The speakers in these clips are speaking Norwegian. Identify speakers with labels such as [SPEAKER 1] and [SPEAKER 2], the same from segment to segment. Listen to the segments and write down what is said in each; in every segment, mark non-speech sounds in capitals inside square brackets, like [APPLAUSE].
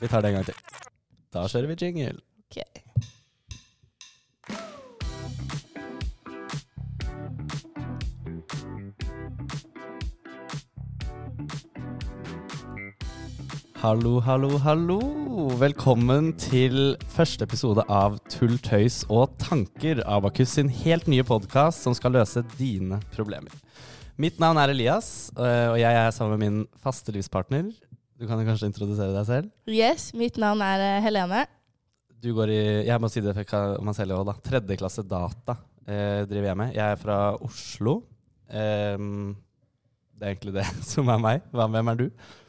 [SPEAKER 1] Vi tar det en gang til. Da kjører vi jingle.
[SPEAKER 2] Ok.
[SPEAKER 1] Hallo, hallo, hallo. Velkommen til første episode av Tull, tøys og tanker. Abakus sin helt nye podkast som skal løse dine problemer. Mitt navn er Elias, eh, og jeg er sammen med min faste livspartner. Du kan jo kanskje introdusere deg selv?
[SPEAKER 2] Yes, mitt navn er eh, Helene.
[SPEAKER 1] Du går i jeg må si det for jeg kan- man selv også, da. Tredje klasse data eh, driver jeg med. Jeg er fra Oslo. Ehm, det er egentlig det [LAUGHS] som er meg. Hva, hvem er du?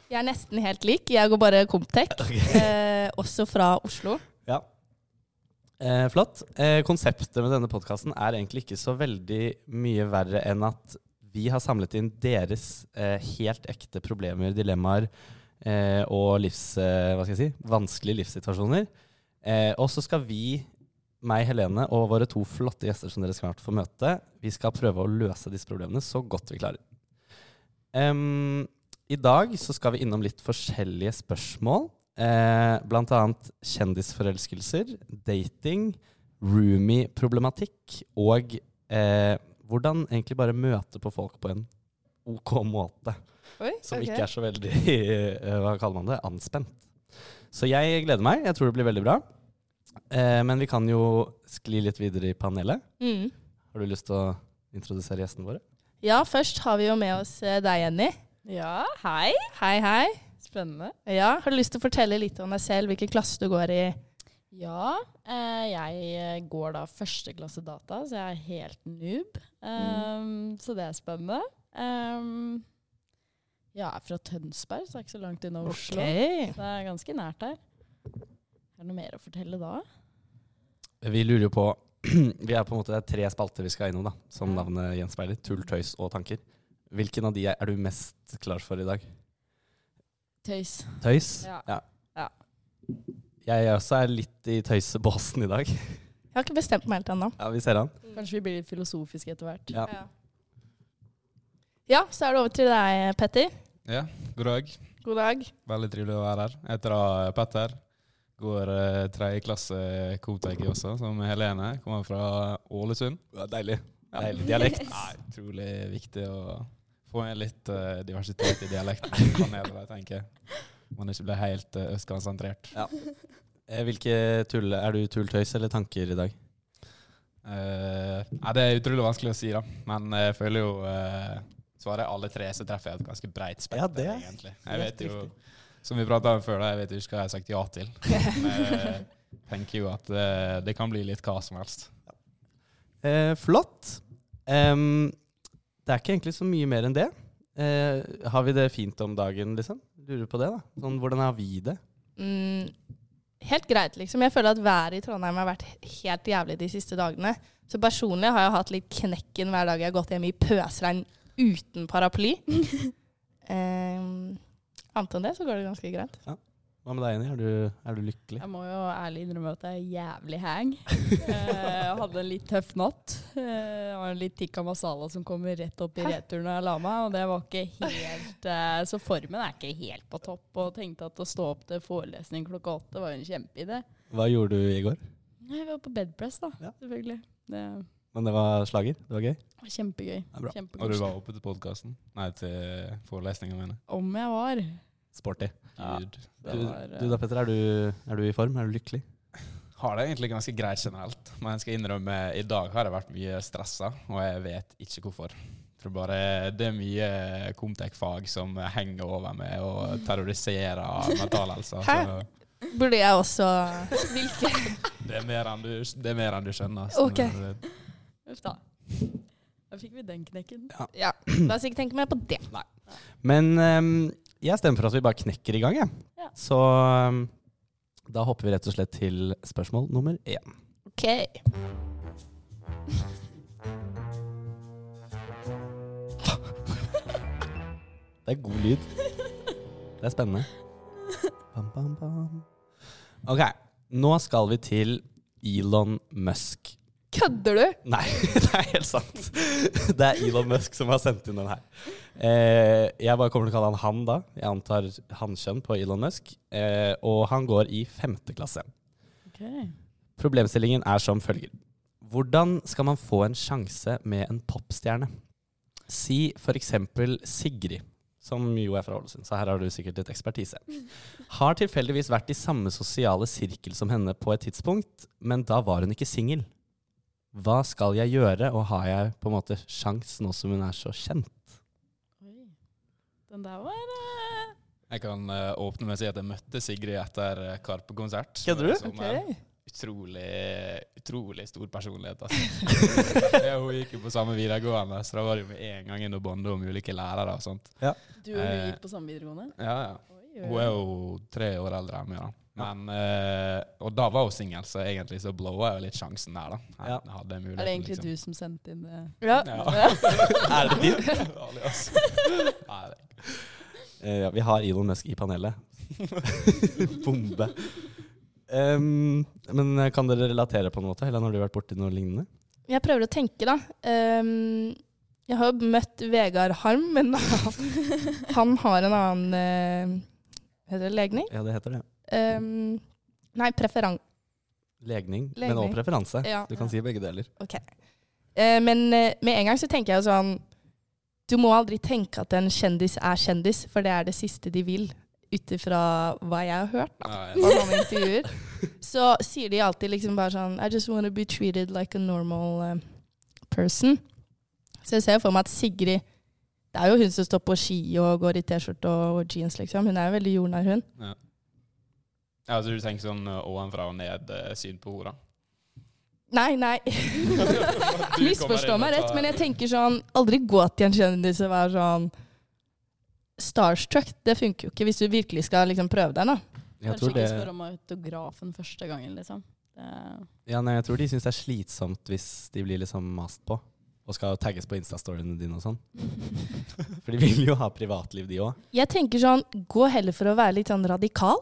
[SPEAKER 2] Jeg er nesten helt lik. Jeg går bare [LAUGHS] Comptec, eh, også fra Oslo.
[SPEAKER 1] Ja. Eh, flott. Eh, konseptet med denne podkasten er egentlig ikke så veldig mye verre enn at vi har samlet inn deres eh, helt ekte problemer, dilemmaer eh, og livs, eh, hva skal jeg si, vanskelige livssituasjoner. Eh, og så skal vi, meg, Helene, og våre to flotte gjester som dere snart får møte, vi skal prøve å løse disse problemene så godt vi klarer. Em, I dag så skal vi innom litt forskjellige spørsmål. Eh, blant annet kjendisforelskelser, dating, roomie-problematikk og eh, hvordan egentlig bare møte på folk på en OK måte.
[SPEAKER 2] Oi,
[SPEAKER 1] Som ikke er så veldig [LAUGHS] eh, Hva kaller man det? Anspent. Så jeg gleder meg. Jeg tror det blir veldig bra. Eh, men vi kan jo skli litt videre i panelet.
[SPEAKER 2] mm.
[SPEAKER 1] Har du lyst til å introdusere gjestene våre?
[SPEAKER 2] Ja, først har vi jo med oss eh, deg, Jenny.
[SPEAKER 3] Ja, hei.
[SPEAKER 2] Hei, hei.
[SPEAKER 3] Spennende.
[SPEAKER 2] Ja, Har du lyst til å fortelle litt om deg selv, hvilken klasse du går i?
[SPEAKER 3] Ja, eh, jeg eh, går da førsteklasse data, så jeg er helt noob. Um, Så det er spennende. Um, jeg er fra Tønsberg, så det er ikke så langt unna Oslo.
[SPEAKER 2] Ok.
[SPEAKER 3] Det er ganske nært her. Er det noe mer å fortelle da?
[SPEAKER 1] Vi lurer jo på [CLEARS THROAT] Vi er på en måte Det er tre spalter vi skal innom, da som
[SPEAKER 3] Ja.
[SPEAKER 1] navnet gjenspeiler. Tull, tøys og tanker. Hvilken av de er, er du mest klar for i dag?
[SPEAKER 3] Tøys.
[SPEAKER 1] Tøys?
[SPEAKER 3] Ja. Ja.
[SPEAKER 1] Jeg også er litt i tøysebåsen i dag. [LAUGHS]
[SPEAKER 2] Jeg har ikke bestemt meg helt ennå.
[SPEAKER 1] Ja, vi ser han.
[SPEAKER 3] Kanskje vi blir litt filosofiske etter hvert.
[SPEAKER 1] Ja.
[SPEAKER 2] Ja. ja, så er det over til deg, Petter.
[SPEAKER 4] Ja, god dag.
[SPEAKER 2] God dag.
[SPEAKER 4] Veldig trivelig å være her. Jeg heter da eh, Petter. Går eh, tredje klasse Koteki også, som Helene. Kommer fra Ålesund.
[SPEAKER 1] [LAUGHS] deilig.
[SPEAKER 4] Ja.
[SPEAKER 1] Deilig dialekt.
[SPEAKER 4] Nei, utrolig viktig å få med litt eh, diversitet i dialekten. [LAUGHS] i panelet, jeg tenker Man ikke blir helt uh, østkansentrert.
[SPEAKER 1] Eh, Hvilke tull, er du tull, tøys eller tanker i dag?
[SPEAKER 4] Eh, nei, det er utrolig vanskelig å si, da. Men jeg føler jo eh, Svarer jeg alle tre, så treffer jeg et ganske breit spekter,
[SPEAKER 1] Ja, det er
[SPEAKER 4] egentlig.
[SPEAKER 1] helt
[SPEAKER 4] Jeg vet jo, som vi prata om før, da, jeg vet jo ikke hva jeg har sagt ja
[SPEAKER 1] [LAUGHS]
[SPEAKER 4] til. Men jeg tenker jo at eh, det kan bli litt hva som helst.
[SPEAKER 1] Eh, flott. Em, det er ikke egentlig så mye mer enn det. Eh, har vi det fint om dagen, liksom? Lurer på det, da. Sånn, hvordan har vi det?
[SPEAKER 2] Mm, helt greit, liksom. Jeg føler at været i Trondheim har vært helt jævlig de siste dagene. Så personlig har jeg hatt litt knekken hver dag jeg har gått hjem i pøsregn uten paraply. um, Annet enn det så går det ganske greit.
[SPEAKER 1] Hva med deg, Jenny? Er du, er du lykkelig?
[SPEAKER 3] Jeg må jo ærlig innrømme at jeg er jævlig
[SPEAKER 1] [LAUGHS]
[SPEAKER 3] hang. Eh, Jeg hadde en litt tøff natt. Eh, Det var en litt tikka masala som kommer rett opp i
[SPEAKER 2] Hæ?
[SPEAKER 3] returen når jeg la meg, og det var ikke helt eh, Så formen er ikke helt på topp, og tenkte at å stå opp til forelesning klokka åtte var jo en kjempeidé.
[SPEAKER 1] Hva gjorde du i går?
[SPEAKER 3] Nei, Vi var på bedpress, da,
[SPEAKER 1] Ja.
[SPEAKER 3] selvfølgelig. Det
[SPEAKER 1] Men det var slager? Det var gøy?
[SPEAKER 3] var kjempegøy.
[SPEAKER 1] Ja, bra.
[SPEAKER 4] Og du
[SPEAKER 3] Kjempekoselig.
[SPEAKER 4] var oppe til podkasten? Nei, til forelesninga mi.
[SPEAKER 3] Om jeg var.
[SPEAKER 1] Sporty.
[SPEAKER 4] Ja.
[SPEAKER 1] Du,
[SPEAKER 3] Det var, eh,
[SPEAKER 1] du da, Petter. Er du, er du i form? Er du lykkelig?
[SPEAKER 4] Har det egentlig ganske greit generelt, men jeg skal innrømme i dag har jeg vært mye stressa, og jeg vet ikke hvorfor. Jeg tror bare det er mye Comtec-fag som henger over meg og terroriserer mentalhelsa.
[SPEAKER 2] Hæ?
[SPEAKER 4] så
[SPEAKER 2] Burde jeg også Hvilke?
[SPEAKER 4] Det er mer enn du, det er mer enn du skjønner.
[SPEAKER 2] Ok.
[SPEAKER 4] det-
[SPEAKER 3] eh, Uff da. Da fikk vi den knekken.
[SPEAKER 2] Ja, la oss ikke tenke mer på det.
[SPEAKER 1] Men ehm, jeg stemmer for at vi bare knekker i gang, jeg.
[SPEAKER 3] Ja.
[SPEAKER 1] Så ehm, da hopper vi rett og slett til spørsmål nummer én.
[SPEAKER 2] Ok.
[SPEAKER 1] Det er god lyd. Det er spennende. Bam, bam, bam. Ok, nå skal vi til Elon Musk. [LAUGHS]
[SPEAKER 2] Kødder du?
[SPEAKER 1] Nei, det er helt sant. Det er Elon Musk som har sendt inn den her. Eh, jeg bare kommer til å kalle han han da. Jeg antar hankjønn på Elon Musk. Eh, og han går i femte klasse. Problemstillingen er som følger. Hvordan skal man få en sjanse med en popstjerne? Si for eksempel Sigrid, som jo er fra Ålesund, så her har du sikkert litt ekspertise. Har tilfeldigvis vært i samme sosiale sirkel som henne på et tidspunkt, men da var hun ikke singel. Hva skal jeg gjøre, og har jeg på en måte sjans nå som hun er så kjent?
[SPEAKER 3] Oi. Den der var eh,
[SPEAKER 4] Jeg kan eh, åpne med å si at jeg møtte Sigrid etter eh, Karpe-konsert.
[SPEAKER 1] Kødder
[SPEAKER 4] før
[SPEAKER 1] du?
[SPEAKER 4] i sommeren. Utrolig, utrolig stor personlighet, altså. [LAUGHS] Ja, Hun gikk jo på samme videregående, så da var det jo med en gang inn og bonde om ulike lærere og sånt.
[SPEAKER 3] Du og hun
[SPEAKER 4] Eh.
[SPEAKER 3] gikk på samme videregående?
[SPEAKER 4] Ja, ja.
[SPEAKER 3] Oi,
[SPEAKER 4] Hun er jo tre år eldre enn meg, da. Men, eh, og da var hun singel, så egentlig så blowa jeg jo litt sjansen der, da. Jeg
[SPEAKER 1] Ja.
[SPEAKER 4] hadde muligheten,
[SPEAKER 3] Er det egentlig du som sendte inn det?
[SPEAKER 2] Ja.
[SPEAKER 3] [LAUGHS]
[SPEAKER 4] liksom- Ja. [LAUGHS]
[SPEAKER 1] Er det din? [LAUGHS]
[SPEAKER 4] Ærlig, altså. Nei, det-
[SPEAKER 1] Eh, ja, vi har Elon Musk i panelet. [LAUGHS] Bombe. Em, men eh, kan dere relatere på en måte? Helene, har du vært borti noe lignende?
[SPEAKER 2] Jeg prøver å tenke, da. Ehm, jeg har jo møtt Vegard Harm, men [LAUGHS] han, han har en annen eh, Heter det legning?
[SPEAKER 1] Ja, det heter det.
[SPEAKER 2] Ehm, nei, preferan...
[SPEAKER 1] Legning, men
[SPEAKER 2] Legning.
[SPEAKER 1] også preferanse.
[SPEAKER 2] Ja.
[SPEAKER 1] Du kan si begge deler.
[SPEAKER 2] Eh, men eh, med en gang så tenker jeg jo sånn Du må aldri tenke at en kjendis er kjendis, for det er det siste de vil, ut ifra hva jeg har hørt.
[SPEAKER 4] Nei,
[SPEAKER 2] på sånne
[SPEAKER 1] [LAUGHS]
[SPEAKER 2] intervjuer, så sier de alltid liksom bare sånn I just want to be treated like a normal eh, person. Så jeg ser jo for meg at Sigrid Det er jo hun som står på ski og går i T-skjorte og, og jeans, liksom. Hun er jo veldig jordnær, hun.
[SPEAKER 4] Ja, altså du tenker sånn eh, ovenfra og ned eh, syn på henne, da?
[SPEAKER 2] Nei, nei.
[SPEAKER 4] [LAUGHS]
[SPEAKER 2] [LAUGHS]
[SPEAKER 4] Du kommer inn
[SPEAKER 2] Misforstå
[SPEAKER 4] og
[SPEAKER 2] meg rett,
[SPEAKER 4] tar-
[SPEAKER 2] men jeg tenker sånn Aldri gå til en kjendis og være sånn Starstruck, det funker jo ikke hvis du virkelig skal liksom prøve deg, da.
[SPEAKER 1] Jeg
[SPEAKER 3] Kanskje
[SPEAKER 1] tror,
[SPEAKER 3] ikke
[SPEAKER 1] det,
[SPEAKER 3] spørre om autografen første gangen, liksom. Det-
[SPEAKER 1] ja, nei, jeg tror de syns det er slitsomt hvis de blir liksom mast på og skal tagges på Insta-storyene dine og sånn. For de vil jo ha privatliv, de òg.
[SPEAKER 2] Jeg tenker sånn, gå heller for å være litt sånn radikal.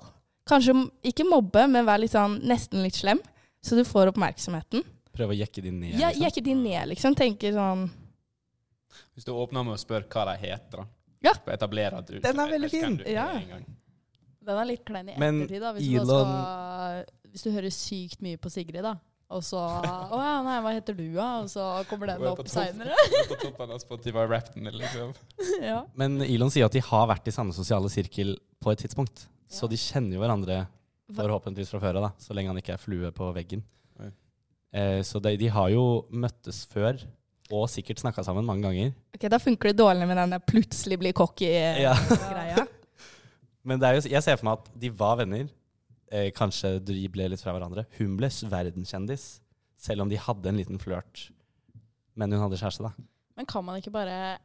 [SPEAKER 2] Kanskje m- ikke mobbe, men være litt sånn, nesten litt slem, så du får oppmerksomheten.
[SPEAKER 1] Prøve å jekke de ned.
[SPEAKER 2] Ja,
[SPEAKER 1] liksom.
[SPEAKER 2] jekke de ned, liksom. Tenker sånn
[SPEAKER 4] Hvis du åpner med å spørre hva de heter, da.
[SPEAKER 2] Ja.
[SPEAKER 4] For å etablere at du
[SPEAKER 1] Den er
[SPEAKER 4] jeg vet
[SPEAKER 1] veldig
[SPEAKER 4] hvem
[SPEAKER 1] fin.
[SPEAKER 4] du er
[SPEAKER 2] Ja.
[SPEAKER 4] en gang.
[SPEAKER 3] [LAUGHS] Den er litt klein i
[SPEAKER 1] Men
[SPEAKER 3] ettertid, da. Hvis, du da skal, hvis du hører sykt mye på Sigrid, da. Og så Å ja, nei, hva heter du, da? Og så kommer den
[SPEAKER 4] Hun er på
[SPEAKER 3] opp
[SPEAKER 4] topp.
[SPEAKER 3] seinere.
[SPEAKER 4] På toppen av Spotify-rappen, liksom.
[SPEAKER 3] [LAUGHS] ja.
[SPEAKER 1] Men Elon sier at de har vært i samme sosiale sirkel på et tidspunkt. Så
[SPEAKER 3] Ja.
[SPEAKER 1] de kjenner jo hverandre
[SPEAKER 2] Hva-
[SPEAKER 1] forhåpentligvis fra før av, da, så lenge han ikke er flue på veggen.
[SPEAKER 4] Oi.
[SPEAKER 1] Eh, så de, de har jo møttes før, og sikkert snakka sammen mange ganger.
[SPEAKER 2] Ok, da funker det dårlig med den der plutselig blir cocky eh,
[SPEAKER 1] Ja.
[SPEAKER 2] greia.
[SPEAKER 1] Men det er jo, jeg ser for meg at de var venner. Eh, kanskje de ble litt fra hverandre. Hun ble s- verdenskjendis, selv om de hadde en liten flørt. Men hun hadde kjæreste, da.
[SPEAKER 3] Men kan man ikke bare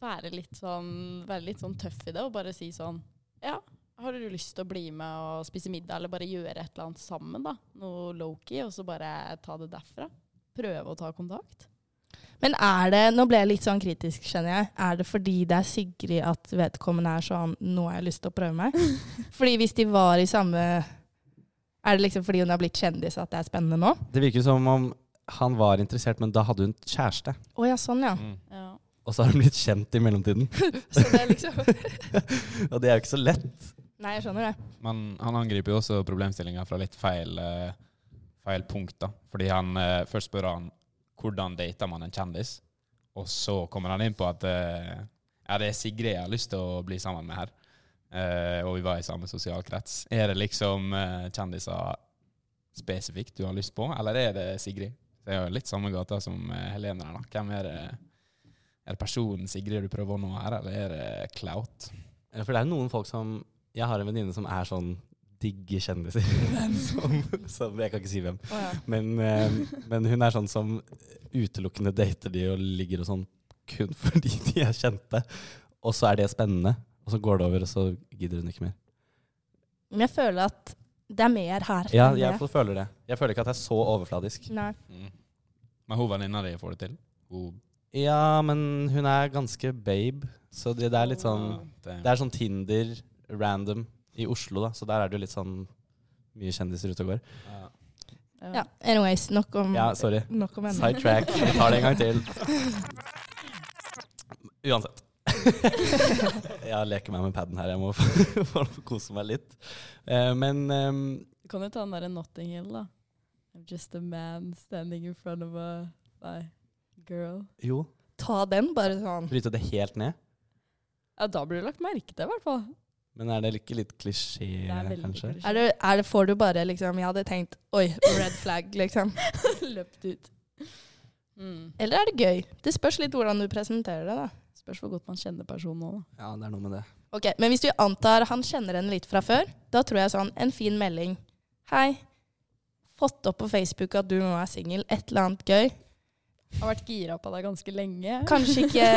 [SPEAKER 3] være litt sånn, være litt sånn tøff i det, og bare si sånn Ja, har du lyst til å bli med og spise middag, eller bare gjøre et eller annet sammen, da? Noe lowkey, og så bare ta det derfra? Prøve å ta kontakt?
[SPEAKER 2] Men er det Nå ble jeg litt sånn kritisk, skjønner jeg. Er det fordi det er Sigrid at vedkommende er sånn Nå har jeg lyst til å prøve [LAUGHS] meg? Fordi hvis de var i samme Er det liksom fordi hun har blitt kjendis at det er spennende nå?
[SPEAKER 1] Det virker som om han var interessert, men da hadde hun kjæreste.
[SPEAKER 2] Å ja, sånn ja.
[SPEAKER 4] Mm.
[SPEAKER 3] Ja.
[SPEAKER 1] Og så har hun blitt kjent i mellomtiden.
[SPEAKER 2] [LAUGHS]
[SPEAKER 1] [LAUGHS]
[SPEAKER 2] Så det er liksom
[SPEAKER 1] Og det er jo ikke så lett.
[SPEAKER 2] Nei, jeg skjønner det.
[SPEAKER 4] Men han angriper jo også problemstillinga fra litt feil, eh, feil punkt, da. Fordi han eh, først spør han hvordan dater man en kjendis, og så kommer han inn på at eh, ja, det er Sigrid jeg har lyst til å bli sammen med her. Eh, og vi var i samme sosial krets. Er det liksom eh, kjendiser spesifikt du har lyst på, eller er det Sigrid? Det er jo litt samme gata som eh, Helene der, da. Hvem er det? Er det personen Sigrid du prøver å nå her, eller er det clout?
[SPEAKER 1] Ja, For det er jo noen folk som Jeg har en venninne som er sånn digge kjendiser. [LAUGHS] som, som, jeg kan ikke si hvem.
[SPEAKER 2] Å, ja.
[SPEAKER 1] Men, eh, men hun er sånn som utelukkende dater de og ligger og sånn kun [LAUGHS] fordi de er kjente. Og så er det spennende, og så går det over, og så gidder hun ikke mer.
[SPEAKER 2] Men jeg føler at det er mer her.
[SPEAKER 1] Ja,
[SPEAKER 2] enn
[SPEAKER 1] jeg
[SPEAKER 2] det.
[SPEAKER 1] føler det. Jeg føler ikke at det er så overfladisk.
[SPEAKER 2] Nei.
[SPEAKER 4] Mm. Men hun venninna di får det til? Hun
[SPEAKER 1] Ja, men hun er ganske babe, så det, det er litt sånn
[SPEAKER 4] det,
[SPEAKER 1] Det er sånn Tinder random i Oslo, da, så der er det jo litt sånn mye kjendiser ute og går.
[SPEAKER 2] Ja, anyways, nok om,
[SPEAKER 1] Ja, sorry.
[SPEAKER 2] nok om emnet.
[SPEAKER 1] Sidetrack. Vi tar det en gang til.
[SPEAKER 3] [LAUGHS]
[SPEAKER 1] Uansett. jeg leker meg med paden her. Jeg må [LAUGHS] få få kose meg litt. Eh, Men ehm,
[SPEAKER 3] Du kan jo ta den derre Notting Hill, da. I'm just a man standing in front of a Nei, girl.
[SPEAKER 1] jo,
[SPEAKER 2] Ta den, bare sånn.
[SPEAKER 1] bryte det helt ned.
[SPEAKER 3] Ja, da blir du lagt merke til, i hvert fall.
[SPEAKER 1] Men er det ikke litt klisjé,
[SPEAKER 3] Det er veldig
[SPEAKER 1] kanskje?
[SPEAKER 3] klisjé.
[SPEAKER 2] Er det, er det, får du bare liksom Jeg hadde tenkt oi, red flag, liksom.
[SPEAKER 3] [LAUGHS] Løpt ut. Mm.
[SPEAKER 2] Eller er det gøy? Det spørs litt hvordan du presenterer det, da.
[SPEAKER 3] Spørs hvor godt man kjenner personen nå, da.
[SPEAKER 1] Ja, det er noe med det.
[SPEAKER 2] Ok, Men hvis du antar han kjenner henne litt fra før, da tror jeg sånn en fin melding. Hei. Fått opp på Facebook at du nå er singel. Et eller annet gøy.
[SPEAKER 3] Har vært gira på deg ganske lenge.
[SPEAKER 2] Kanskje ikke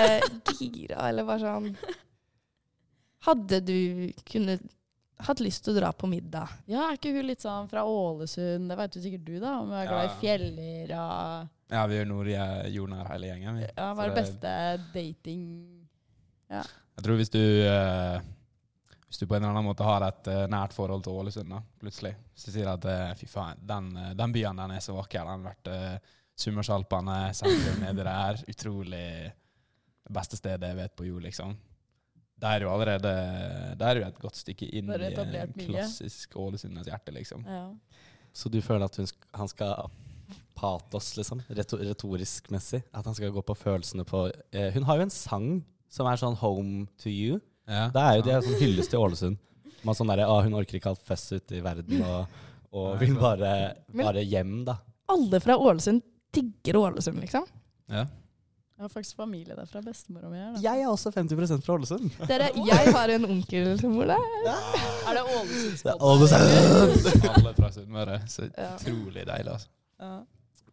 [SPEAKER 2] gira, eller bare sånn Hadde du kunnet hatt lyst til å dra på middag?
[SPEAKER 3] Ja, er ikke hun litt sånn fra Ålesund? Det veit jo sikkert du, da. Om hun er glad i
[SPEAKER 4] Ja.
[SPEAKER 3] fjeller og
[SPEAKER 4] Ja, vi gjør noe jordnær hele gjengen. Vi.
[SPEAKER 3] Ja, hva
[SPEAKER 4] Så
[SPEAKER 3] er det beste dating
[SPEAKER 4] Jeg tror hvis du, eh, hvis du på en eller annen måte har et eh, nært forhold til Ålesund, da, plutselig, så sier du at eh, fy faen, den, eh, den byen den er så vakker. Den har vært uh, Summersalpene, sentrum nedi der. Utrolig det beste stedet jeg vet på jord, liksom. Det er jo allerede det er jo et godt stykke inn
[SPEAKER 3] Da er
[SPEAKER 4] i
[SPEAKER 3] det
[SPEAKER 4] eh,
[SPEAKER 3] etablert mye.
[SPEAKER 4] klassisk Ålesunders hjerte, liksom.
[SPEAKER 3] ja.
[SPEAKER 1] Så du føler at hun, sk- han skal patos, liksom? Reto retorisk messig? At han skal gå på følelsene på eh, Hun har jo en sang som er sånn 'Home to You'.
[SPEAKER 4] Ja.
[SPEAKER 1] Det er jo det er sånn hyllest til Ålesund. Man sånn derre ah, 'Hun orker ikke alt fuss ute i verden', og, og vil bare, bare hjem, da.
[SPEAKER 2] Alle fra Ålesund digger Ålesund, liksom.
[SPEAKER 4] Ja.
[SPEAKER 3] Jeg har faktisk familie derfra. Bestemora mi er da.
[SPEAKER 1] Jeg er også 50 fra
[SPEAKER 2] [LAUGHS]
[SPEAKER 1] Ålesund.
[SPEAKER 2] Dere, jeg har en onkel som bor der.
[SPEAKER 3] Er det Ålesund?
[SPEAKER 1] Det er Ålesund!
[SPEAKER 4] Alle fra Sunnmøre. Så
[SPEAKER 2] Ja.
[SPEAKER 4] utrolig deilig, altså.
[SPEAKER 3] Ja.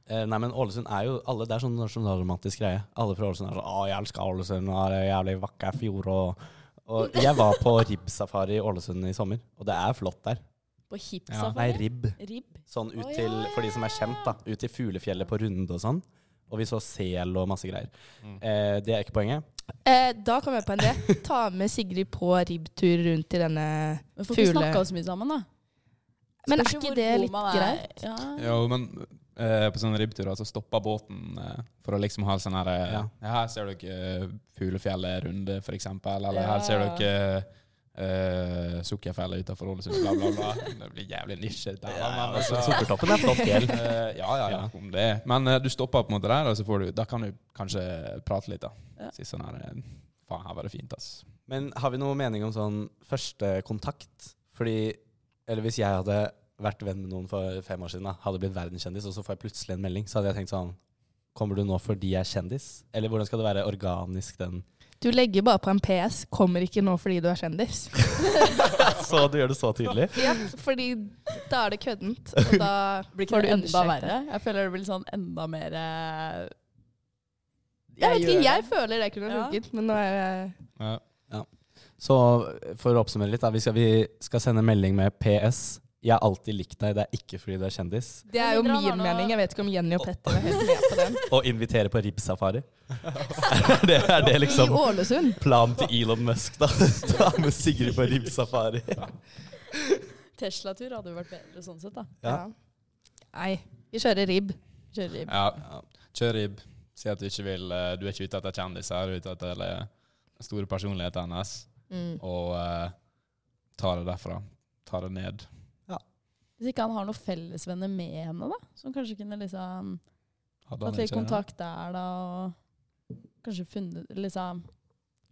[SPEAKER 1] Eh, nei, men Ålesund er jo alle, Det er sånn nasjonalromantisk greie. Alle fra Ålesund er sånn 'Å, jeg elsker Ålesund, og det er jævlig vakker fjord', og, og Jeg var på ribbsafari i Ålesund i sommer, og det er flott der.
[SPEAKER 3] På
[SPEAKER 1] Nei,
[SPEAKER 4] Ja.
[SPEAKER 3] hipsafari?
[SPEAKER 1] ribb.
[SPEAKER 3] Ribb?
[SPEAKER 1] Sånn ut
[SPEAKER 3] Å,
[SPEAKER 1] til,
[SPEAKER 3] ja.
[SPEAKER 1] for de som er kjent, da. Ut til fuglefjellet på Runde og sånn. Og vi så sel og masse greier.
[SPEAKER 4] Mm.
[SPEAKER 1] Eh, det er ikke poenget.
[SPEAKER 2] Eh, da kom jeg på en idé. Ta med Sigrid på ribbtur rundt i denne
[SPEAKER 3] Men får ikke
[SPEAKER 2] Fugle.
[SPEAKER 3] snakka så mye sammen, da.
[SPEAKER 2] Men er
[SPEAKER 3] Spørs jo
[SPEAKER 2] ikke
[SPEAKER 3] hvor
[SPEAKER 2] det
[SPEAKER 3] god
[SPEAKER 2] litt
[SPEAKER 3] man er.
[SPEAKER 2] greit?
[SPEAKER 3] Ja.
[SPEAKER 4] Jo, men eh, på sånne ribbturer så stopper båten eh, for å liksom ha sånn her eh,
[SPEAKER 1] Ja.
[SPEAKER 4] ja, Her ser dere uh, Fuglefjellet runde, for eksempel. Eller
[SPEAKER 3] Ja.
[SPEAKER 4] her ser dere uh, Sukkerfjellet utenfor Ålesund, bla, bla, bla. Det blir jævlig nisje. Der, da, men altså,
[SPEAKER 1] Sukkertoppen er flott fjell.
[SPEAKER 4] eh, ja, ja, ja.
[SPEAKER 1] Ja.
[SPEAKER 4] Om det. Men eh, du stopper på en måte der, og så får du Da kan du kanskje prate litt, da.
[SPEAKER 3] Ja.
[SPEAKER 4] Si sånn her eh, Faen, her var det fint, ass.
[SPEAKER 1] [LAUGHS] Men har vi noe mening om sånn førstekontakt? Fordi Eller hvis jeg hadde vært venn med noen for fem år siden, da, hadde blitt verdenskjendis, og så får jeg plutselig en melding, så hadde jeg tenkt sånn Kommer du nå fordi jeg er kjendis? Eller hvordan skal det være organisk, den
[SPEAKER 2] Du legger bare på en PS. Kommer ikke nå fordi du er kjendis.
[SPEAKER 1] [LAUGHS] Så du gjør det så tydelig?
[SPEAKER 2] Ja, fordi da er det køddent. Og da
[SPEAKER 3] Blir
[SPEAKER 2] får
[SPEAKER 3] ikke
[SPEAKER 2] du
[SPEAKER 3] det enda
[SPEAKER 2] understreket.
[SPEAKER 3] verre? Jeg føler det blir sånn enda mer eh,
[SPEAKER 2] Jeg vet ikke,
[SPEAKER 3] gjør
[SPEAKER 2] jeg
[SPEAKER 3] det.
[SPEAKER 2] føler det kunne
[SPEAKER 3] Ja.
[SPEAKER 2] funket, men nå er jeg
[SPEAKER 4] Ja.
[SPEAKER 1] Så for å oppsummere litt, da. Vi skal, vi skal sende melding med PS. Jeg har alltid likt deg, det er ikke fordi du er kjendis.
[SPEAKER 2] Det er jo
[SPEAKER 3] mindre han
[SPEAKER 2] min
[SPEAKER 3] har noe-
[SPEAKER 2] mening. Jeg vet ikke om Jenny og
[SPEAKER 1] [LAUGHS]
[SPEAKER 2] Petter er helt med på den.
[SPEAKER 1] Og invitere på ribbsafari. er, [LAUGHS] det- er det
[SPEAKER 2] I
[SPEAKER 1] liksom
[SPEAKER 2] Ålesund.
[SPEAKER 1] planen til Elon Musk, da? [LAUGHS] Ta med Sigrid på ribbsafari.
[SPEAKER 3] Tesla-tur hadde jo vært bedre sånn sett, da.
[SPEAKER 1] Ja.
[SPEAKER 2] Nei, vi kjører ribb.
[SPEAKER 3] Kjøre i
[SPEAKER 4] Ja. Kjør ribb. Si at du ikke vil eh, Du er ikke ute etter kjendiser, du er ute etter eller, den store personligheten hennes.
[SPEAKER 3] Mm.
[SPEAKER 4] og eh, ta det derfra. Ta det ned.
[SPEAKER 3] Hvis ikke han har noen fellesvenner med henne, da? Som kanskje kunne liksom
[SPEAKER 4] Hadde han
[SPEAKER 3] tatt litt
[SPEAKER 4] ikke det?
[SPEAKER 3] kontakt der, da, og kanskje funnet liksom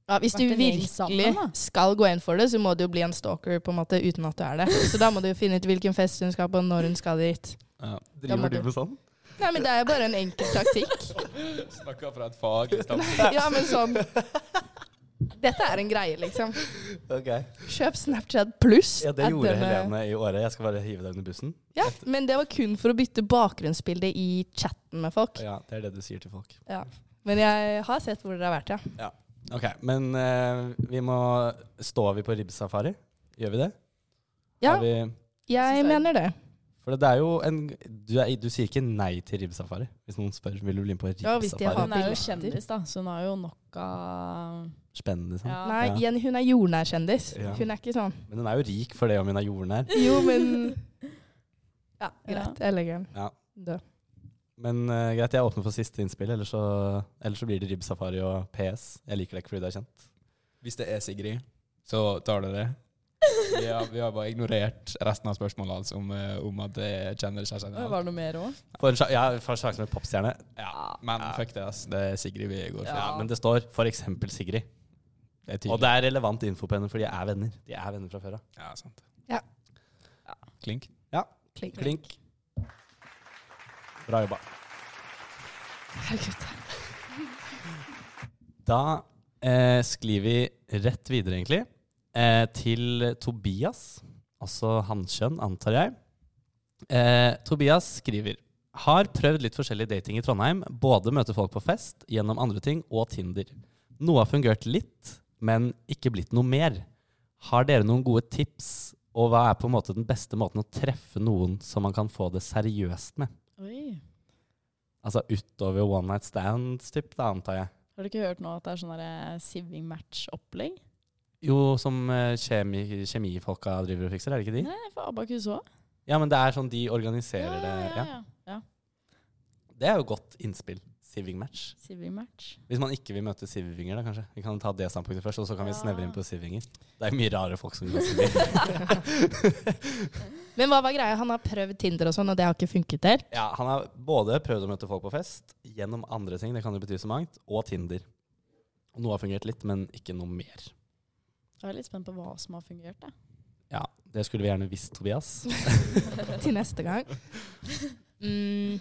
[SPEAKER 2] Ja, hvis du
[SPEAKER 3] Vært en gjeng
[SPEAKER 2] virkelig
[SPEAKER 3] sammen, da.
[SPEAKER 2] skal gå inn for det, så må du jo bli en stalker på en måte uten at du er det. Så da må du jo finne ut hvilken fest hun skal på, når hun skal dit.
[SPEAKER 4] Ja. [LAUGHS]
[SPEAKER 1] Driver du med sånn?
[SPEAKER 2] Nei, men det er jo bare en enkel taktikk.
[SPEAKER 4] Snakker fra et faglig standpunkt.
[SPEAKER 2] Ja, men sånn Dette er en greie, liksom.
[SPEAKER 1] Ok.
[SPEAKER 2] Kjøp Snapchat pluss.
[SPEAKER 1] Ja,
[SPEAKER 2] Add
[SPEAKER 1] det gjorde
[SPEAKER 2] den, eh,
[SPEAKER 1] Helene i året. Jeg skal bare hive deg under bussen.
[SPEAKER 2] Ja, men det var kun for å bytte bakgrunnsbilde i chatten med folk.
[SPEAKER 1] Ja, det er det du sier til folk.
[SPEAKER 2] Men jeg har sett hvor dere har vært, ja.
[SPEAKER 1] Ok, men eh, vi må Står vi på ribbsafari? Gjør vi det?
[SPEAKER 2] Ja,
[SPEAKER 1] Har vi,
[SPEAKER 2] jeg
[SPEAKER 3] synes det er-
[SPEAKER 2] mener det.
[SPEAKER 1] for det er jo en du, er, du sier ikke nei til ribbsafari hvis noen spør vil du bli med på
[SPEAKER 2] Ja, hvis de har-
[SPEAKER 1] ribbsafari.
[SPEAKER 3] Hun er jo
[SPEAKER 2] bilder.
[SPEAKER 3] kjendis, da, så hun har jo nok av
[SPEAKER 1] Spennende. Sånn.
[SPEAKER 3] ja.
[SPEAKER 2] Nei, Jenny hun er jordnær kjendis.
[SPEAKER 1] Ja.
[SPEAKER 2] Hun er ikke sånn.
[SPEAKER 1] Men hun er jo rik for det om hun er jordnær.
[SPEAKER 2] Jo, men Ja, greit. Jeg legger den
[SPEAKER 1] Ja.
[SPEAKER 2] død.
[SPEAKER 1] Men eh, greit, jeg åpner for siste innspill, ellers så, ellers så blir det Rib Safari og PS. Jeg liker deg ikke fordi du er kjent.
[SPEAKER 4] Hvis det er Sigrid, så tar du det. Vi har, vi har bare ignorert resten av spørsmålet hans om, eh, om at jeg kjenner kjæresten.
[SPEAKER 3] Det var noe mer òg.
[SPEAKER 1] For en, sja- ja, for en sjanse med popstjerne.
[SPEAKER 4] Ja, men fuck det, ass. Det er Sigrid vi går for.
[SPEAKER 1] Ja, men det står for eksempel Sigrid.
[SPEAKER 4] det er
[SPEAKER 1] Og
[SPEAKER 4] tydelig.
[SPEAKER 1] det er relevant info på henne, for de er venner. De er venner fra før av.
[SPEAKER 4] Ja, sant.
[SPEAKER 2] Ja.
[SPEAKER 4] Klink.
[SPEAKER 2] Klink.
[SPEAKER 1] Klink. Bra jobba.
[SPEAKER 2] Herregud.
[SPEAKER 1] Da eh, sklir vi rett videre, egentlig, eh, til Tobias. Altså hannkjønn, antar jeg. Eh, Tobias skriver Har prøvd litt forskjellig dating i Trondheim. Både møte folk på fest, gjennom andre ting, og Tinder. Noe har fungert litt, men ikke blitt noe mer. Har dere noen gode tips, og hva er på en måte den beste måten å treffe noen som man kan få det seriøst med?
[SPEAKER 3] Oi.
[SPEAKER 1] Altså utover one night stands, typ, da antar jeg.
[SPEAKER 3] Har du ikke hørt nå at det er sånn derre siving match-opplegg?
[SPEAKER 1] Jo, som eh, kjemi, kjemifolka driver og fikser, er det ikke de?
[SPEAKER 3] Nei, for Abakus òg.
[SPEAKER 1] Ja, men det er sånn de organiserer det. Ja.
[SPEAKER 3] ja.
[SPEAKER 1] Det er jo godt innspill. Siving match.
[SPEAKER 3] Siving match.
[SPEAKER 1] Hvis man ikke vil møte sivinger, da kanskje. Vi kan ta det standpunktet først, og så kan vi
[SPEAKER 3] Ja.
[SPEAKER 1] snevre inn på sivinger. Det er mye rare folk som går [LAUGHS] siving.
[SPEAKER 2] [LAUGHS] Men hva var greia? Han har prøvd Tinder og sånn, og det har ikke funket helt.
[SPEAKER 1] ja, han har både prøvd å møte folk på fest, gjennom andre ting, det kan jo bety så mangt, og Tinder. Noe har fungert litt, men ikke noe mer.
[SPEAKER 3] Jeg er litt spent på hva som har fungert. Da.
[SPEAKER 1] Ja, det skulle vi gjerne visst, Tobias.
[SPEAKER 2] Til neste gang. Mm,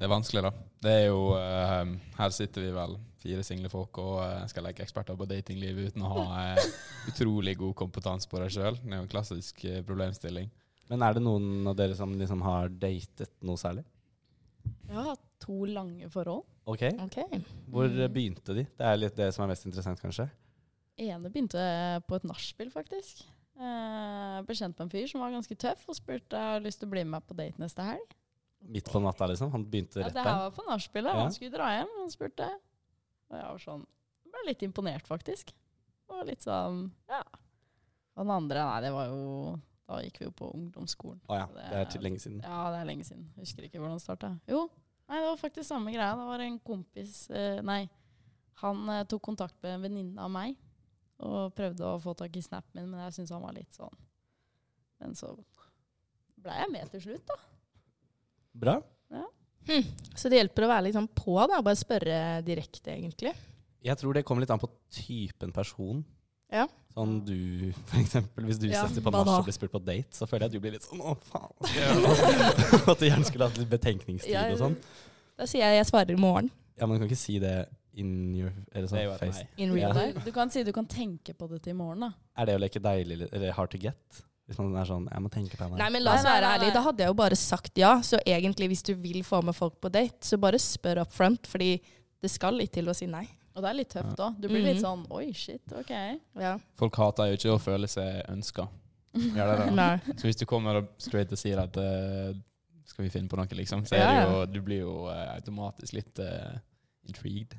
[SPEAKER 4] Det er vanskelig, da. Det er jo eh, Her sitter vi vel, fire single folk, og eh, skal leke eksperter på datinglivet uten å
[SPEAKER 2] [LAUGHS]
[SPEAKER 4] ha eh, utrolig god kompetanse på det sjøl. Det er jo en klassisk eh, problemstilling.
[SPEAKER 1] Men er det noen av dere som liksom har datet noe særlig?
[SPEAKER 3] Jeg har hatt to lange forhold.
[SPEAKER 1] Ok,
[SPEAKER 2] ok.
[SPEAKER 1] Hvor
[SPEAKER 3] Mm.
[SPEAKER 1] eh, begynte de? Det er litt det som er mest interessant, kanskje.
[SPEAKER 3] ene begynte på et nachspiel, faktisk. Eh, ble kjent med en fyr som var ganske tøff, og spurte om jeg hadde lyst til å bli med meg på date neste helg.
[SPEAKER 1] Midt på natta, liksom. Han begynte
[SPEAKER 3] Ja,
[SPEAKER 1] rett
[SPEAKER 3] det her
[SPEAKER 1] der.
[SPEAKER 3] var på nachspielet.
[SPEAKER 1] Ja.
[SPEAKER 3] Han skulle dra hjem, og han spurte. Og jeg var sånn Ble litt imponert, faktisk. Og litt sånn Ja. Og den andre, nei, det var jo Da gikk vi jo på ungdomsskolen.
[SPEAKER 1] Å ja, det er til lenge siden.
[SPEAKER 3] Ja, det er lenge siden. Husker ikke hvordan det starta. Jo, nei, det var faktisk samme greia. Det var en kompis eh, Nei, han eh, tok kontakt med en venninne av meg og prøvde å få tak i snappen min, men jeg syntes han var litt sånn Men så blei jeg med til slutt, da.
[SPEAKER 1] Bra.
[SPEAKER 2] Hm. Så det hjelper å være litt sånn på, da. Bare spørre direkte, egentlig.
[SPEAKER 1] Jeg tror det kommer litt an på typen person.
[SPEAKER 2] Ja.
[SPEAKER 1] Sånn du, for eksempel. Hvis du
[SPEAKER 2] Ja,
[SPEAKER 1] setter på
[SPEAKER 2] hva
[SPEAKER 1] nach
[SPEAKER 2] da?
[SPEAKER 1] og blir spurt på date, så føler jeg at du blir litt sånn å, faen. hva skal
[SPEAKER 2] [LAUGHS]
[SPEAKER 1] jeg gjøre [LAUGHS] nå?» At du gjerne skulle hatt litt betenkningstid
[SPEAKER 2] Ja,
[SPEAKER 1] og sånn.
[SPEAKER 2] Da sier jeg jeg svarer i morgen.
[SPEAKER 1] Ja, men du kan ikke si det in your eller
[SPEAKER 4] Det er
[SPEAKER 1] sånn
[SPEAKER 4] jo et
[SPEAKER 1] face.
[SPEAKER 4] nei.
[SPEAKER 2] In
[SPEAKER 1] Ja.
[SPEAKER 2] real life.
[SPEAKER 3] Du, du kan si du kan tenke på det til i morgen, da.
[SPEAKER 1] Er det å leke deilig eller- eller hard to get? Hvis man er sånn Jeg må tenke på henne.
[SPEAKER 2] Nei, men la oss
[SPEAKER 3] Nei, nei,
[SPEAKER 2] være
[SPEAKER 3] nei, nei.
[SPEAKER 2] ærlige. Da hadde jeg jo bare sagt ja. Så egentlig, hvis du vil få med folk på date, så bare spør up front, fordi det skal litt til å si nei.
[SPEAKER 3] Og det er litt tøft òg. Du blir litt
[SPEAKER 2] Mhm.
[SPEAKER 3] sånn Oi, shit, OK.
[SPEAKER 2] Ja.
[SPEAKER 4] Folk hater jo ikke å føle seg
[SPEAKER 2] [LAUGHS]
[SPEAKER 4] ønska. Gjør det det?
[SPEAKER 2] Nei.
[SPEAKER 4] Så hvis du kommer og straight og sier at eh, skal vi finne på noe, liksom, så
[SPEAKER 2] Ja,
[SPEAKER 4] er
[SPEAKER 2] ja.
[SPEAKER 4] det jo, du blir jo eh, automatisk litt eh,
[SPEAKER 2] [LAUGHS]
[SPEAKER 4] intrigued.